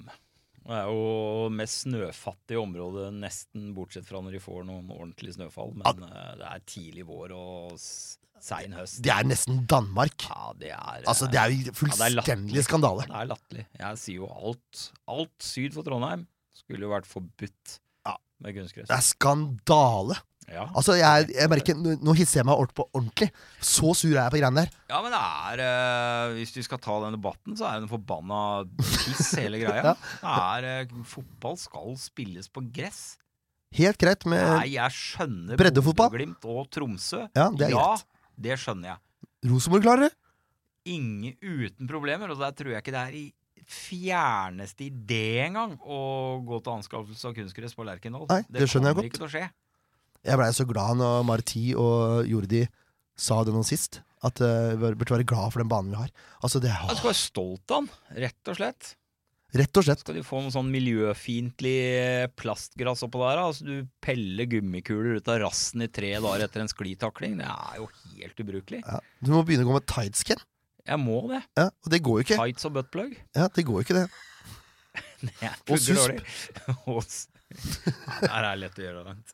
Det er jo mest snøfattige området, nesten bortsett fra når de får noen ordentlige snøfall. Men eh, det er tidlig vår og s- sein høst. Det er nesten Danmark. Ja, det er Altså, det er jo fullstendig latterlig. skandale. Det er latterlig. Jeg sier jo alt. Alt syd for Trondheim skulle jo vært forbudt Ja. med kunstgress. Det er skandale. Ja. Altså, jeg, jeg merker, nå- Nå hisser jeg meg opp på ordentlig. Så sur er jeg på greiene der. ja, men det er eh, Hvis du skal ta den debatten, så er det en forbanna piss, [laughs] hele greia. Det er eh, Fotball skal spilles på gress. Helt greit med Nei, jeg skjønner Eh, breddefotball? Glimt og Tromsø. Ja, det er ja, greit. det skjønner jeg. Rosenborg klarer det. Ingen uten problemer, og der tror jeg ikke det er i fjerneste idé engang å gå til anskaffelse av kunstgress på Lerkendal. Nei, det skjønner jeg kommer godt. ikke til å skje. Jeg blei så glad når Marti og Jordi sa det nå sist. At eh, vi burde være glad for den banen vi har. Altså, det Jeg er skal være stolt av den, rett og slett. Rett og slett. Skal de få noe sånn miljøfiendtlig eh, plastgress oppå der? da? Altså, du peller gummikuler ut av rassen i tre dager etter en sklitakling. Det er jo helt ubrukelig. Ja. Du må begynne å gå med tights, Ken. Jeg må det. Ja, og det går jo ikke. Tights og buttplug. Ja, det går jo ikke det. Jeg Og pugger susp. [laughs] dårlig. Og s- Nei, Det her er lett å gjøre det langt.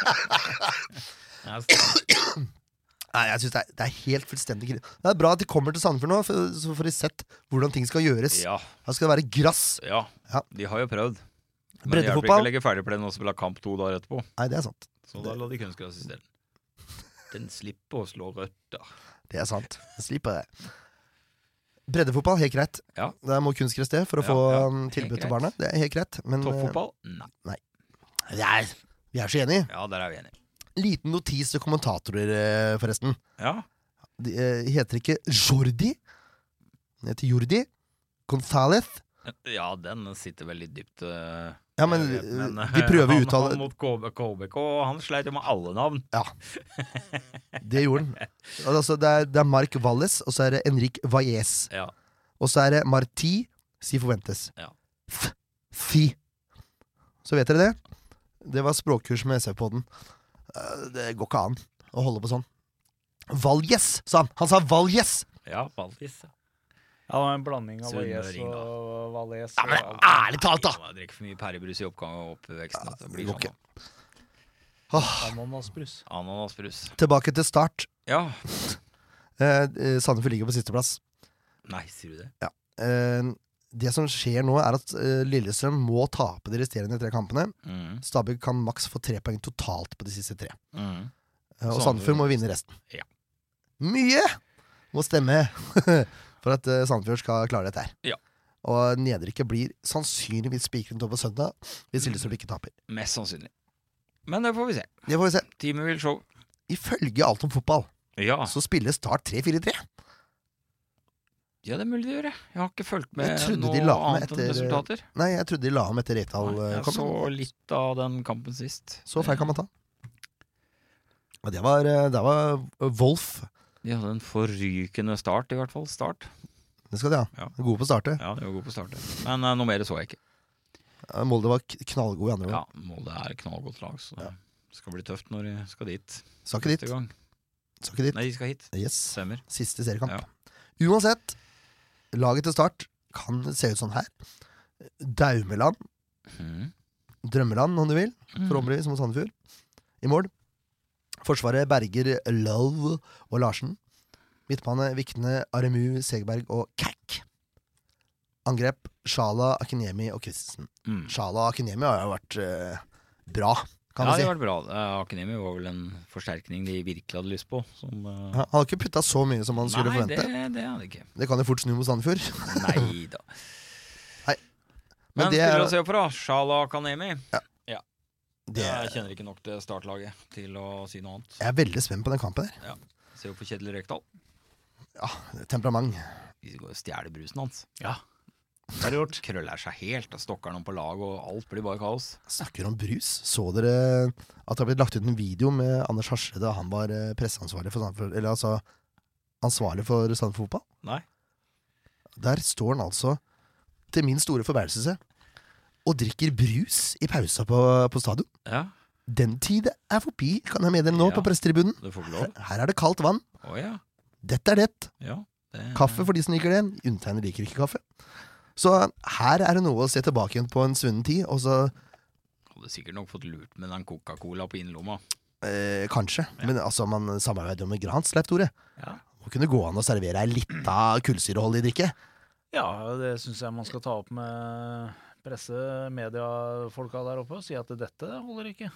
Det er stramt. Nei, jeg synes det, er, det er helt fullstendig krise. Det er bra at de kommer til Sandefjord nå, for, så får de sett hvordan ting skal gjøres. Ja, Her skal det være grass. ja, Ja. de har jo prøvd. Men det hjelper ikke å Breddefotball. legge ferdig på den og spille kamp to dager etterpå. Nei, det er sant. Så da la de kunstgress isteden. Den slipper å slå røtter. Det er sant. Slipp av det. Breddefotball, helt greit. Ja. Det må kunstgress til for å Ja, få ja. um, tilbud Helt til greit. barna. Det er helt greit. Men eh, Toppfotball? Nei. nei, vi er så enige. Ja, der er vi enige. Liten notis til kommentatorer, eh, forresten. Ja. De eh, heter ikke Jordi. Den heter Jordi. Gonzalez. ja, den sitter veldig dypt. eh, Ja, men, jeg vet, men, eh, de prøver [laughs] å han- uttale Han mot KB, KBK, han sleit jo med alle navn. Det gjorde den. Og Altså, det, er, det er Mark Wallis, og så er det Enrik Valles. Ja. Og så er det Marti Si Forventes. Ja. F- Si. Så vet dere det. Det var språkkurs med E SV-podden. Eh, Det går ikke an å holde på sånn. Valjes, sa han. Han sa Valjes! Ja, Valdis. Ja, det var en blanding av Sunnmøring, Valles da. og Valles. Ja, men og- ærlig talt, da! Jeg drikker for mye pærebrus i oppgang og oppveksten. at det blir ok. sånn. Åh, Ananasbrus. Ananasbrus. tilbake til start. Ja. Eh, eh, Sandefjord ligger på sisteplass. Nei, sier du det? Eh, det som skjer nå, er at eh, Lillestrøm må tape de resterende tre kampene. Mm. Stabæk kan maks få tre poeng totalt på de siste tre. Mm. Eh, Og Sandefjord Sandefjord må vinne resten. Ja. Mye må stemme [laughs] for at eh, Sandefjord skal klare dette her. Ja. Og nedrykket blir sannsynligvis spikret opp på søndag hvis Lillestrøm ikke taper. Mest sannsynlig. Men det får vi se. Det får vi se. Teamet vil show. Ifølge alt om fotball Ja. så spiller Start 3-4-3. ja, det er mulig de gjør det. Jeg har ikke fulgt med Jeg trodde noe de la med annet enn etter- resultater. Nei, jeg trodde de la om etter Reital Nei, eh, jeg kom. så litt av den kampen sist. Så feil kan man ta. Og det var, eh, det var Wolf. De hadde en forrykende start, i hvert fall. Start. Det skal de ha. Ja. Gode på å starte. Ja, de var gode på start. ja. Men eh, noe mer så jeg ikke. Eh, Molde var k- knallgode i andre Ja, omgang. Molde er knallgodt lag, så det skal bli tøft når de skal dit. Sa ikke neste dit. gang. Sa ikke dit. Nei, de skal hit. Yes. Stemmer. Siste seriekamp. Uansett, laget til start kan se ut sånn her. Daumeland, Mm. drømmeland om du vil, Mm. forhåpentligvis mot Sandefjord. I mål. Forsvaret Berger, Love og Larsen. Midtbane Vikne, Aremu, Segerberg og Kækk. Angrep Sjala, Akinemi og Christensen. Mm. Sjala og Akinemi har jo vært eh, bra, kan ja, man si. det var bra. Eh, Akenemi var vel en forsterkning de virkelig hadde lyst på. Som, eh, Han har ikke putta så mye som man skulle nei, det, forvente. det hadde de ikke. Det... kan jo fort snu mot Sandefjord. Nei da. [laughs] Nei. Men, det spiller [laughs] er- å se på, da. Shala Akanemi. Det, Jeg kjenner ikke nok til startlaget til å si noe annet. jeg er veldig spent på den kampen. der Ser jo på Kjetil Rekdal. Temperament. Vi går og stjeler brusen hans. Ja. Det har de gjort. Krøller seg helt, og stokker noen på lag, og alt blir bare kaos. Snakker om brus. Så dere at det har blitt lagt ut en video med Anders Hasle da han var eh, presseansvarlig for Sandefjord Eller altså ansvarlig for Sandefjord fotball? Nei. Der står han altså, til min store forbauselse, og drikker brus i pausa på, på stadion. Ja, Den tid er forbi, kan jeg meddele nå, Ja. på pressetribunen. du får ikke Her, [laughs] lov. her er det kaldt vann. Å ja. Dette er det. ja det- Kaffe for de som liker det. Undertegnede liker ikke kaffe. Så her er det noe å se tilbake igjen på en svunnen tid, og så Hadde sikkert nok fått lurt med den Coca-Cola på innerlomma. Eh, kanskje. Men altså, man samarbeider jo med Gransleip, Tore. Ja. Må kunne gå an å servere ei lita kullsyreholdig drikke. Ja, det syns jeg man skal ta opp med presse, mediefolka der oppe, og si at dette holder ikke.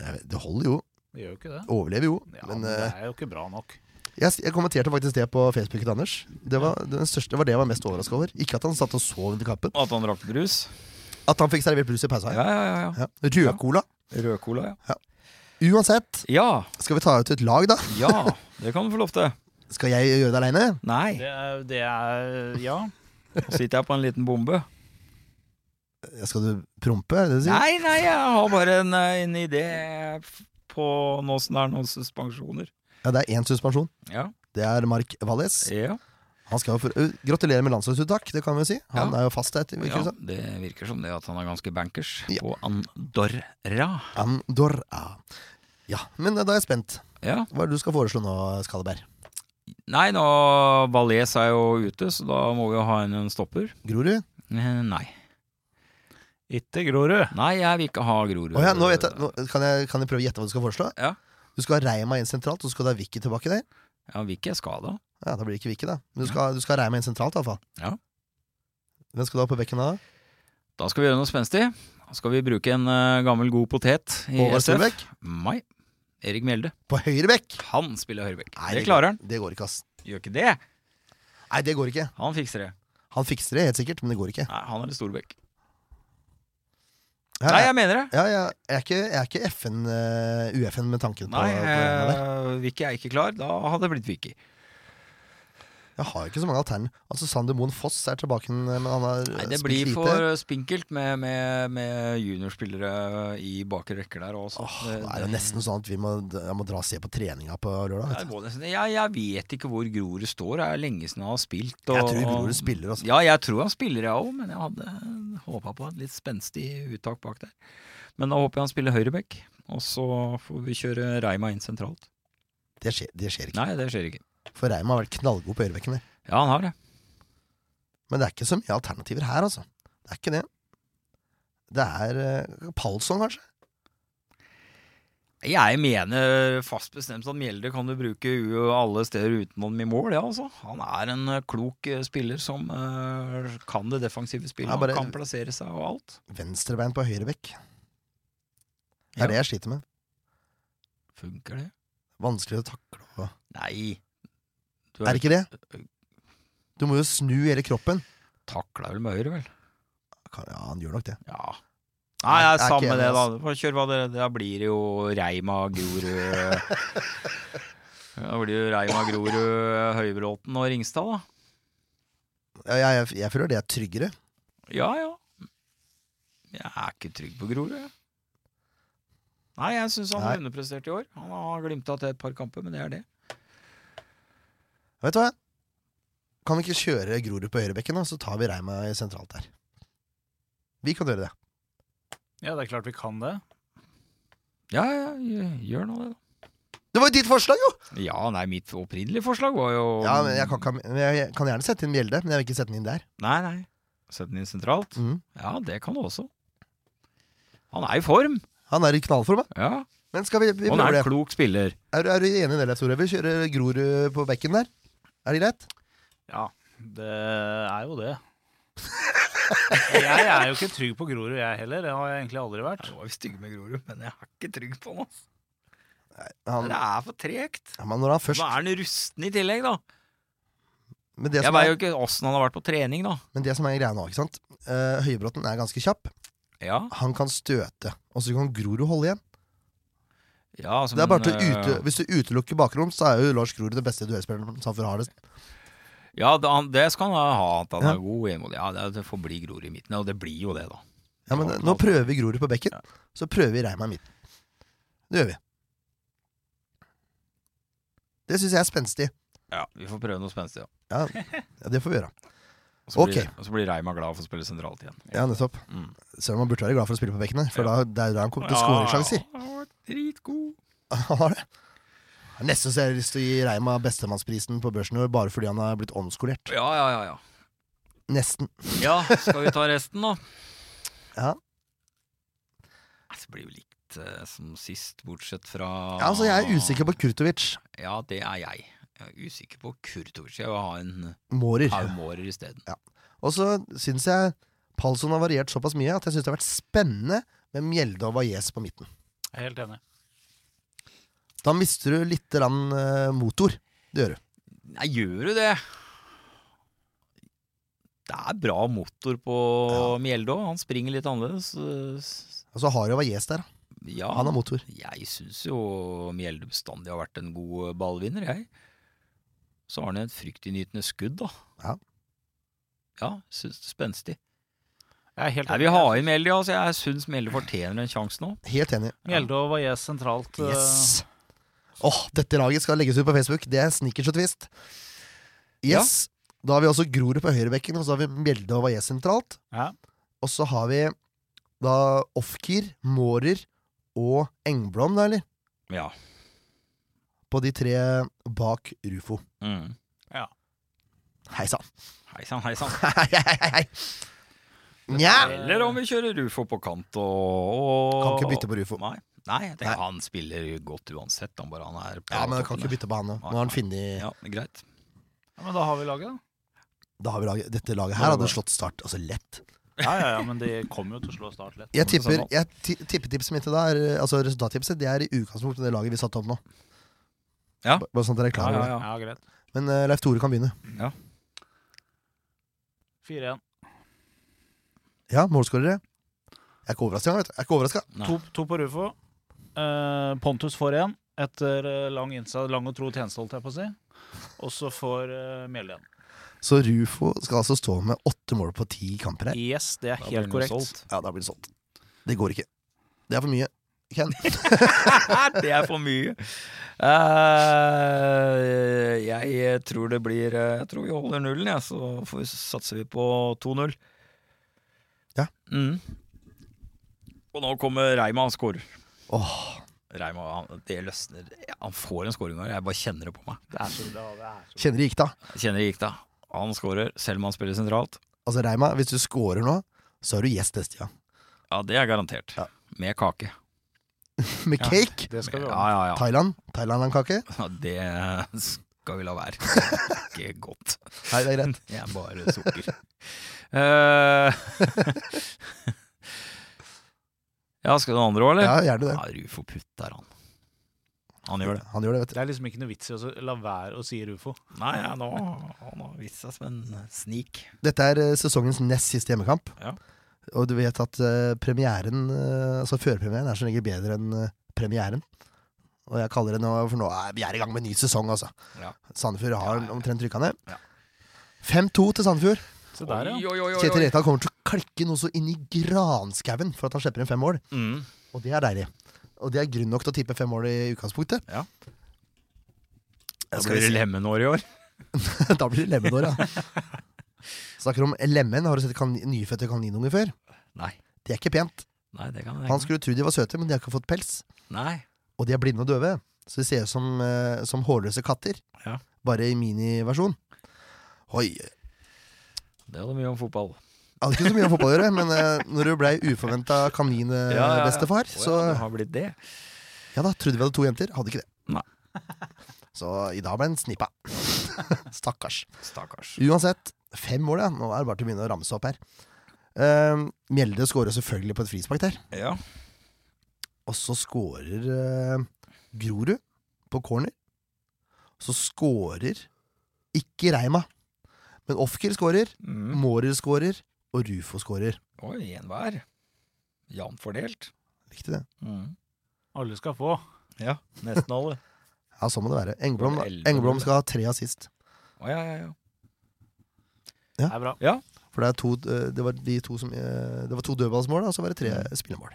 Eh, Det holder jo. Det gjør jo ikke det. Overlever jo. Ja, men men det eh, er jo ikke bra nok. jeg, jeg kommenterte faktisk det på Facebook til Anders. Det var, den største, det var det jeg var mest overraska over. Ikke at han satt og sov under kappen. At han drakk brus? At han fikk servert brus i pausa. Ja, ja, ja. ja. Ja. Rødcola. Rød cola, ja. Uansett, Ja, skal vi ta ut et lag, da? ja, det kan du få lov til. Skal jeg gjøre det aleine? Nei, Det er, det er Ja. nå sitter jeg på en liten bombe. Skal du prompe? er Det du sier? Nei, nei, jeg har bare en, eh, en idé på noe som er noen suspensjoner. Ja, det er én suspensjon. Ja, Det er Mark Valles. ja, Han skal jo for, Ø, Gratulerer med landslagsuttak, det kan vi jo si. Han Ja. er jo fast der. etter, ikke ja, sant? det virker som det at han er ganske bankers sånn. Ja. på Andorra. Andorra. Ja, men eh, da er jeg spent. Ja. Hva er det du skal foreslå nå, Skalleberg? Nei, nå Valais er jo ute, så da må vi jo ha en, en stopper. Grorud? Eh, Nei. Ikke Grorud. Nei, jeg vil ikke ha Grorud. Å ja, nå vet jeg, nå, kan, jeg, kan jeg prøve å gjette hva du skal foreslå? Ja. Du skal ha Reima inn sentralt, og så skal du ha Vicky tilbake der. Ja, Vicky er skada. Ja, Da blir det ikke Vicky, da. Men du skal, du skal ha Reima inn sentralt, i hvert fall. Ja. Hvem skal du ha på bekken da? Da skal vi gjøre noe spenstig. Da skal vi bruke en eh, gammel, god potet i Håvard SF. Solbekk? Nei. Erik Mjelde. På høyre bekk! Han spiller høyrebekk. Nei, Det klarer han. går- Det går ikke, ass. Gjør ikke det. Nei, det går ikke. Han fikser det. Han fikser det helt sikkert, men det går ikke. Nei, han er en storbekk. Ja, Nei, ja, jeg mener det. ja, ja, jeg er ikke, jeg er ikke FN, eh, UFN med tanken på, Nei, på det der. eh, Vicky er ikke klar. Da hadde det blitt Vicky. Jeg har jo ikke så mange altern. Altså, Sander Moen Foss er tilbake, men han har eh, Nei, det spilt blir lite. for spinkelt med, med, med juniorspillere i bakre rekker der òg. Åh, det er jo nesten sånn at vi må, jeg må dra og se på treninga på lørdag. vet du. jeg, jeg vet ikke hvor Grorud står. Det er lenge siden han har spilt. og- Jeg tror Grorud og- spiller, altså. Ja, jeg tror han spiller, jeg òg, men jeg hadde håpa på et litt spenstig uttak bak der. Men da håper jeg han spiller høyreback, og så får vi kjøre Reima inn sentralt. Det skjer, det skjer ikke. Nei, det skjer ikke. For Reima har vært knallgod på ørebekken der. Ja, han har det. Men det er ikke så mye alternativer her, altså. Det er ikke det. Det er eh, Palsson, kanskje? Jeg mener fast bestemt at Mjelde kan du bruke u- alle steder utenom i mål, ja altså. Han er en eh, klok eh, spiller som eh, kan det defensive spillet, Ja, bare- han kan plassere seg og alt. Venstrebein på høyrebekk. Det er Ja. det jeg sliter med. Funker det? Vanskelig å takle. og- Nei. Du Er det ikke det? Eh, Du må jo snu hele kroppen. takla vel med høyre, vel? Kan- Ja, han gjør nok det. Ja. Nei, Nei, det jeg er er samme ikke enig, det, da. Får Kjør hva det Da blir det jo [laughs] Reima, Grorud eh, Da blir det jo Reima, Grorud, eh, Høybråten og Ringstad, Ja, da. Jeg, jeg, jeg føler det er tryggere. Ja, ja. Jeg er ikke trygg på Grorud. jeg. Nei, jeg syns han Nei. har underprestert i år. Han har glimta til et par kamper, men det er det. Vet du hva? Kan vi ikke kjøre Grorud på høyrebekken, da, så tar vi Reima i sentralt der? Vi kan gjøre det. Ja, det er klart vi kan det. Ja, ja, gjør- gjør nå det, da. Det var jo ditt forslag, jo! Ja, nei, mitt opprinnelige forslag var jo Ja, men jeg kan, ikke ha- men jeg jeg kan gjerne sette inn Mjelde, men jeg vil ikke sette den inn der. Nei, nei. Sett den inn sentralt. Mhm. Ja, det kan du også. Han er i form. Han er i knallform, da. Ja. Men skal vi, vi Og han prøve er det? en klok spiller. Er, du- er du enig i det, Leif Tore? Vi kjører Grorud på bekken der. Er det greit? Ja, det er jo det. Jeg er jo ikke trygg på Grorud, jeg heller. Det har jeg egentlig aldri vært. var vi stygge med Grorud, men jeg er ikke trygg på han. Han, Det er for tregt. ja, men når han Nå først er han rusten i tillegg, da. men det, Jeg som veit jo er, ikke åssen han har vært på trening, da. men det som er greia nå, ikke sant? Eh, Høybråten er ganske kjapp. Ja, Han kan støte, og så kan Grorud holde igjen. ja altså, Det er bare men, til å ute, øh, Hvis du utelukker bakrom, så er jo Lars Grorud den beste duellspilleren Sandefjord har. nesten. Ja, det, han, det skal han ha. At han Ja. er god gjennom Ja, det, det får bli Grorud i midten, og det blir jo det, da. Ja, men Nå prøver vi Grorud på bekken, så prøver vi Reima i midten. Det gjør vi. Det syns jeg er spenstig. Ja, Vi får prøve noe spenstig, ja. Ja, ja, det får vi gjøre. Og så blir, Ok. og så blir Reima glad for å spille sentralt igjen. Ja, nettopp. Mm. Selv om han burde være glad for å spille på bekken, her, for da, det er jo da han kommer til skåringssjanser. Ja, han var dritgod. [laughs] Han har det. Nesten så jeg har lyst til å gi Reima bestemannsprisen på børsen i år, bare fordi han har blitt omskolert. Ja, ja, ja, ja. Nesten. Ja, skal vi ta resten, da? Ja. Nei, Det blir jo likt eh, som sist, bortsett fra Ja, altså, Ah. jeg er usikker på Kurtovic. Ja, det er jeg. Jeg er usikker på Kurtovic. Jeg vil ha en Mårer. Paumårer isteden. Og så syns jeg Palsson har variert såpass mye at jeg syns det har vært spennende med Mjelde og Valles på midten. Jeg er helt enig. Da mister du litt grann, eh, motor. Det gjør du. Nei, gjør du det? Det er bra motor på Mjelde òg. Han springer litt annerledes. eh, s- Og så har du Valles der. da. Ja, Han har motor. jeg syns jo Mjelde bestandig har vært en god eh, ballvinner, jeg. Så har han et fryktinngytende skudd, da. Ja. Ja, syns det er spenstig. Jeg er helt Jeg enig. vil ha inn Mjelde, ja, så jeg syns Mjelde fortjener en sjanse nå. Helt enig. Mjelde og Valles sentralt. eh, Yes! Åh, dette laget skal legges ut på Facebook. Det er snickers og twist. Yes. Da har vi også Grorud på høyrebekken, og så har vi Mjelde og Valles sentralt. Ja. Og så har vi da Ofkir, Mårer og Engblom, da, eller? Ja. På de tre bak Rufo. Mm. Hei sann. Hei sann, hei sann. Hei, hei, hei, hei. Nja. Eller om vi kjører Rufo på kant og, og Kan ikke bytte på Rufo. Nei, Nei, jeg tenker, Nei. han spiller godt uansett. Han bare han er på Ja, men jeg kan ikke toppen der. bytte på han nå. Nå har han funnet Ja, men greit. Ja, men da har vi laget, da. Da har vi laget, Dette laget her hadde slått start, altså lett. Ja, ja, ja, men de kommer jo til å slå start lett. Jeg det tipper, samme. jeg ti- tippetipset mitt i dag, er, altså resultattipset, det er i utgangspunktet det laget vi satte opp nå. Ja. Ba- Bare sånn at dere er Ja, klar over ja, det. ja. Ja, greit. Men eh, Leif Tore kan begynne. 4-1. Ja, målskårere. Jeg er ikke overraska, vet du. Jeg er ikke overraska. Nei. To, to på Rufo. Eh, Pontus får én etter eh, lang, innsats, lang og tro tjeneste, holdt jeg på å si. Og så får uh, Mjelde igjen. Så Rufo skal altså stå med åtte mål på ti kamper her. Yes, det er Da helt blir den korrekt. solgt. [laughs] Ja, da blir det solgt. Det går ikke. Det er for mye. Ken. det er for mye. Eh, jeg tror det blir eh, Jeg tror vi holder nullen, jeg, så får vi, satser vi på 2-0. Ja. Mm. Og nå kommer Reima, han scorer. Åh, Reima, han, det løsner. Han får en scoring her, jeg bare kjenner det på meg. Det er så bra, det er så kjenner det gikk, da. Jeg kjenner det gikk, da. Han scorer, selv om han spiller sentralt. Altså, Reima, hvis du scorer nå, så er du gjest neste gang. [laughs] Ja, det er garantert. Ja. Med kake. Med Ja. cake. Det skal vi ha. Ja, ja, ja. Thailand. Thailand-landkake. Ja, Det skal vi la være. Det er Ikke godt. Nei, det er greit. Det er bare sukker. Eh, [laughs] ja, skal den andre òg, eller? Ja, gjerne det. Ja, Rufo putter han. Han gjør det. Han gjør det, vet du. Det er liksom ikke noe vits i å så- la være å si Rufo. Nei, ja, nå han har vist seg som en snik. Dette er eh, sesongens nest siste hjemmekamp. Ja. Og du vet at eh, premieren, eh, altså førpremieren, er som regel bedre enn eh, premieren. Og jeg kaller det nå, for nå er vi er i gang med en ny sesong, altså. Ja. Sandefjord har Ja, ja. omtrent rykka ned. Ja. 5-2 til Sandefjord. Se der, ja. oi, oi, oi, Kjetil oi. Rekdal kommer til å klikke noe så inn i granskauen for at han slipper inn fem mål. Mm. Og det er deilig. Og det er grunn nok til å tippe fem mål i utgangspunktet. Ja. Da Da skal blir vi det se. lemenår i år. [laughs] da blir det lemen [laughs] ja. Snakker om lemen. Har du sett kan nyfødte kaninunger før? Nei. Det er ikke pent. Nei, det kan jeg Han ikke. skulle tro de var søte, men de har ikke fått pels. Nei. Og de er blinde og døve, så de ser ut som, eh, som hårløse katter. Ja. Bare i miniversjon. Oi. Jeg Det hadde mye om fotball. hadde ikke så mye om fotball å gjøre, men eh, når du blei uforventa kaninbestefar, Å, ja, Eh, så det har blitt det. Ja da, trodde vi hadde to jenter. Hadde ikke det. Nei. [laughs] Så i dag ble den snippa. [laughs] Stakkars. Stakkars. Uansett, fem mål, ja. Nå er det bare til å begynne å ramse opp her. Ehm, Mjelde skårer selvfølgelig på et frispark der. Ja. Og så skårer eh, Grorud på corner. Så skårer ikke Reima, men Ofker skårer, Mm. Mårer skårer, og Rufo skårer. Oi, en hver. Jevnt fordelt. Mm. Riktig det. Alle skal få. Ja, nesten alle. Ja, sånn må det være. Engblom, Var det elleve, Engblom eller? skal ha tre assist. Å, ja, ja, ja. [laughs] Det er bra. For det, er to, eh, det var de to som eh, Det var to dødballsmål, og så var det tre Mm. spillemål.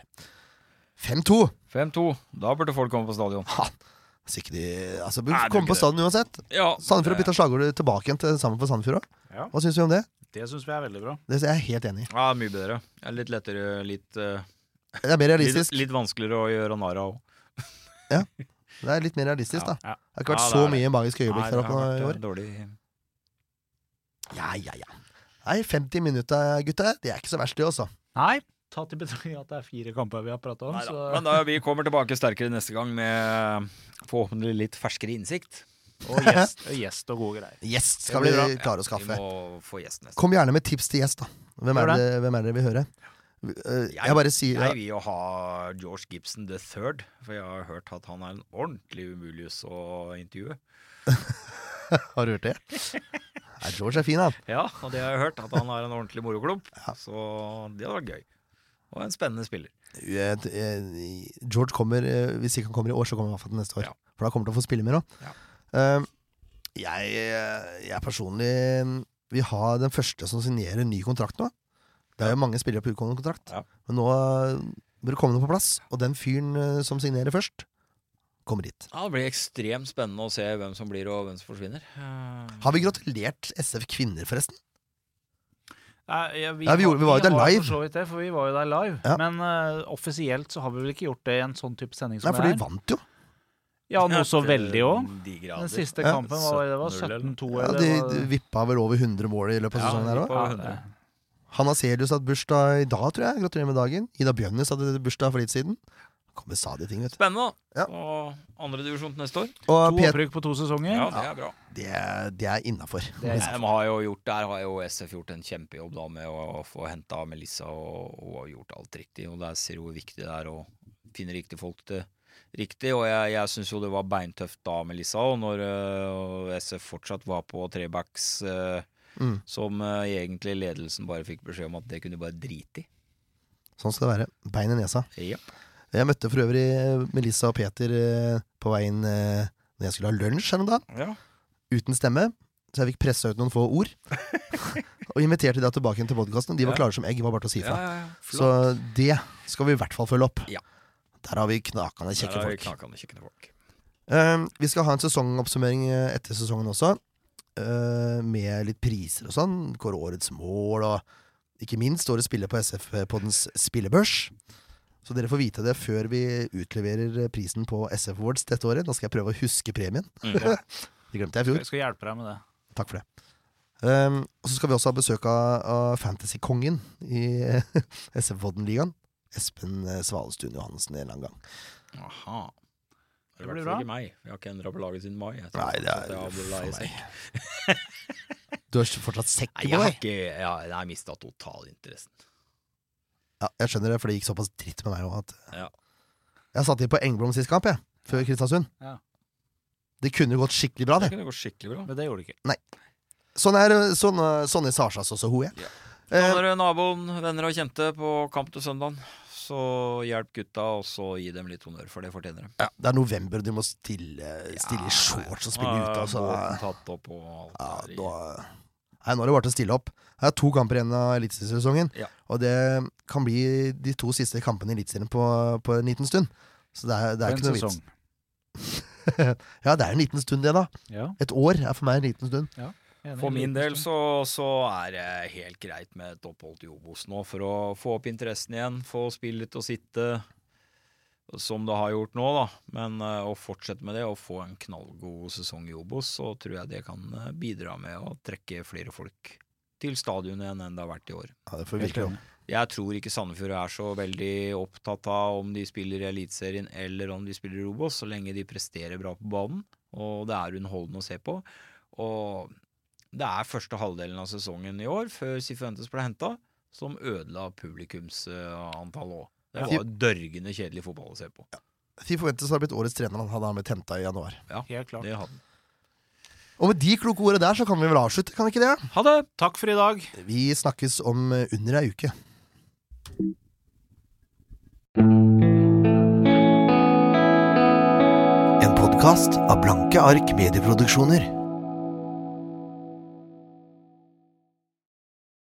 5-2! 5-2. Da burde folk komme på stadion. Så ikke de altså, Nei, det er Kom ikke på stadion uansett. Ja, Sandefjord har det- bytta slagordet tilbake igjen til Sammen for Sandefjord òg. Ja. Hva syns vi om det? Det syns vi er veldig bra. Det er jeg helt enig i. Ja, mye bedre. Ja, Litt lettere, litt, eh, Det er mer litt, realistisk. litt vanskeligere å gjøre narr av. Det er litt mer realistisk, da. Ja. Det har ikke vært Ja, det så er det. mye magiske øyeblikk Nei, der det oppe nå har i vært, år. eh, dårlig. Ja, ja, ja. Nei, 50 minutter, eh, gutter. Det er ikke så verst, det også. Nei, tatt i betraktning at det er fire kamper vi har prata om, Neida. så Men da, vi kommer tilbake sterkere neste gang med forhåpentlig litt ferskere innsikt. [laughs] Og gjest og, gjest og gode greier. Gjest Det skal vi blir bra. klare å Vi skaffe. må få gjest neste gang. Kom gjerne med tips til gjest, da. Hvem Gjør er det, hvem er det vi hører? Eh, Jeg bare sier Jeg vil jo ha George Gibson the third, for jeg har hørt at han er en ordentlig umulius å intervjue. Har du hørt det? Nei, George er fin, han. Ja, og det har jeg hørt, at han er en ordentlig moroklump. Så det hadde vært gøy. Og en spennende spiller. Eh, eh, George kommer, eh, hvis ikke han kommer i år, så kommer han i hvert fall til neste år. Ja. For da kommer han til å få spille mer òg. Ja. jeg, eh, jeg personlig eh, vil ha den første som signerer ny kontrakt nå. Det er jo mange spillere på utgående kontrakt, Ja. men nå eh, bør det komme noe på plass. Og den fyren eh, som signerer først, kommer dit. Ja, det blir ekstremt spennende å se hvem som blir og hvem som forsvinner. Mm. Eh, Har vi gratulert SF Kvinner, forresten? Nei, ja, Ja, vi gjorde- vi var jo der live. For, så vidt det, for vi var jo der live. Ja. Men eh, offisielt så har vi vel ikke gjort det i en sånn type sending Nei, som for de det her. vant jo. Ja, noe så veldig òg. De grader. Den siste Ja. kampen var, det var 17-0. 17-2 Ja, eller de, hva- de vippa vel over 100 mål i løpet av Ja, sesongen de her òg. vippa- Ja, over det- 100. Hanna Selius hadde bursdag i dag, tror jeg. Gratulerer med dagen. Ida Bjønnes hadde bursdag for litt siden. Kommer stadig ting, vet du. Spennende. Ja. Og andredivisjon til neste år. Og To Pet opprykk på to sesonger. Ja, det er bra. det, er- det er innafor. Det Nei, de har jo gjort, der har jo SF gjort en kjempejobb da med å, å få henta Melissa og, og har gjort alt riktig. Og der ser du hvor viktig det er å finne riktige folk til riktig. Og jeg, jeg syns jo det var beintøft da Melissa, og når øh, og SF fortsatt var på trebacks øh, Mm. som øh, egentlig ledelsen bare fikk beskjed om at det kunne de bare drite i. [laughs] Sånn skal det være. Bein i nesa. Ja. Jeg møtte for øvrig eh, Melissa og Peter eh, på veien eh, når jeg skulle ha lunsj her om dagen. Ja. Uten stemme. Så jeg fikk pressa ut noen få ord. [laughs] og inviterte de da tilbake igjen til podkasten. De var Ja. klare som egg. var bare til å si Ja, ifra. ja, ja. Så det skal vi i hvert fall følge opp. Ja. Der har vi knakende kjekke Der er vi folk. knakende kjekke folk. Eh, vi skal ha en sesongoppsummering eh, etter sesongen også, eh, med litt priser og sånn. Kåre årets mål, og ikke minst årets spiller på SF-poddens spillebørs. Så dere får vite det før vi utleverer eh, prisen på SF Awards dette året. Da skal jeg prøve å huske premien. Mm. [laughs] Det glemte jeg i Jeg fjor. skal hjelpe deg med det. Takk for det. Eh, og så skal vi også ha besøk av, av Fantasy-kongen i [laughs] SF-podden-ligaen. Espen eh, Svalestuen Johansen en eller annen gang. Aha. Det I hvert blir fall bra. Ikke meg. Jeg har ikke endra på laget siden mai. Jeg tror Nei, det er fortsatt jeg for har Abdullah i meg. sekk. Du har fortsatt sekk Nei, på jeg har deg? ikke Jeg har, jeg har mista totalinteressen. Ja, jeg skjønner det, for det gikk såpass dritt med meg òg at Ja. Jeg satt inn på Engblom sist kamp, jeg. Før Kristiansund. Ja. Det kunne gått skikkelig bra, Det det. kunne gå skikkelig bra. Men det gjorde du ikke. Sånn er sånn, sånn er Sarsas også, hun er. Ja. Eh, Andre naboen, venner og kjente på kamp til søndagen. Så hjelp gutta, og så gi dem litt honnør, for det fortjener de. ja, det er november, og du må stille, stille i shorts og spille ute, altså. Båten tatt opp og alt Ja, der i- da, nei, nå er det bare til å stille opp. Det er to kamper igjen av elitesesongen. Ja. Og det kan bli de to siste kampene i Eliteserien på, på en liten stund. Så det er, det er En ikke noe sesong. vits. Ja, det er en liten stund, det, da. Ja, Et år er for meg en liten stund. enig. For min del så, så er det helt greit med et opphold i Obos nå, for å få opp interessen igjen, få spillet til å sitte som det har gjort nå, da. Men eh, å fortsette med det og få en knallgod sesong i Obos, så tror jeg det kan eh, bidra med å trekke flere folk til stadionet igjen enn det har vært i år. Ja, det får vi virkelig håpe. Jeg tror ikke Sandefjord er så veldig opptatt av om de spiller i Eliteserien eller om de spiller i Obos, så lenge de presterer bra på banen. Og det er underholdende å se på. Og det er første halvdelen av sesongen i år, før Sifuentes ble henta, som ødela publikumsantallet òg. Det Ja. var dørgende kjedelig fotball å se på. De forventes å ha blitt årets trener, han hadde han blitt henta i januar. Helt klart. Det hadde den. Og med de kloke ordene der, så kan vi vel avslutte, kan vi ikke det? Ha det! Takk for i dag. Vi snakkes om eh, under ei uke. podkast av Blanke ark medieproduksjoner.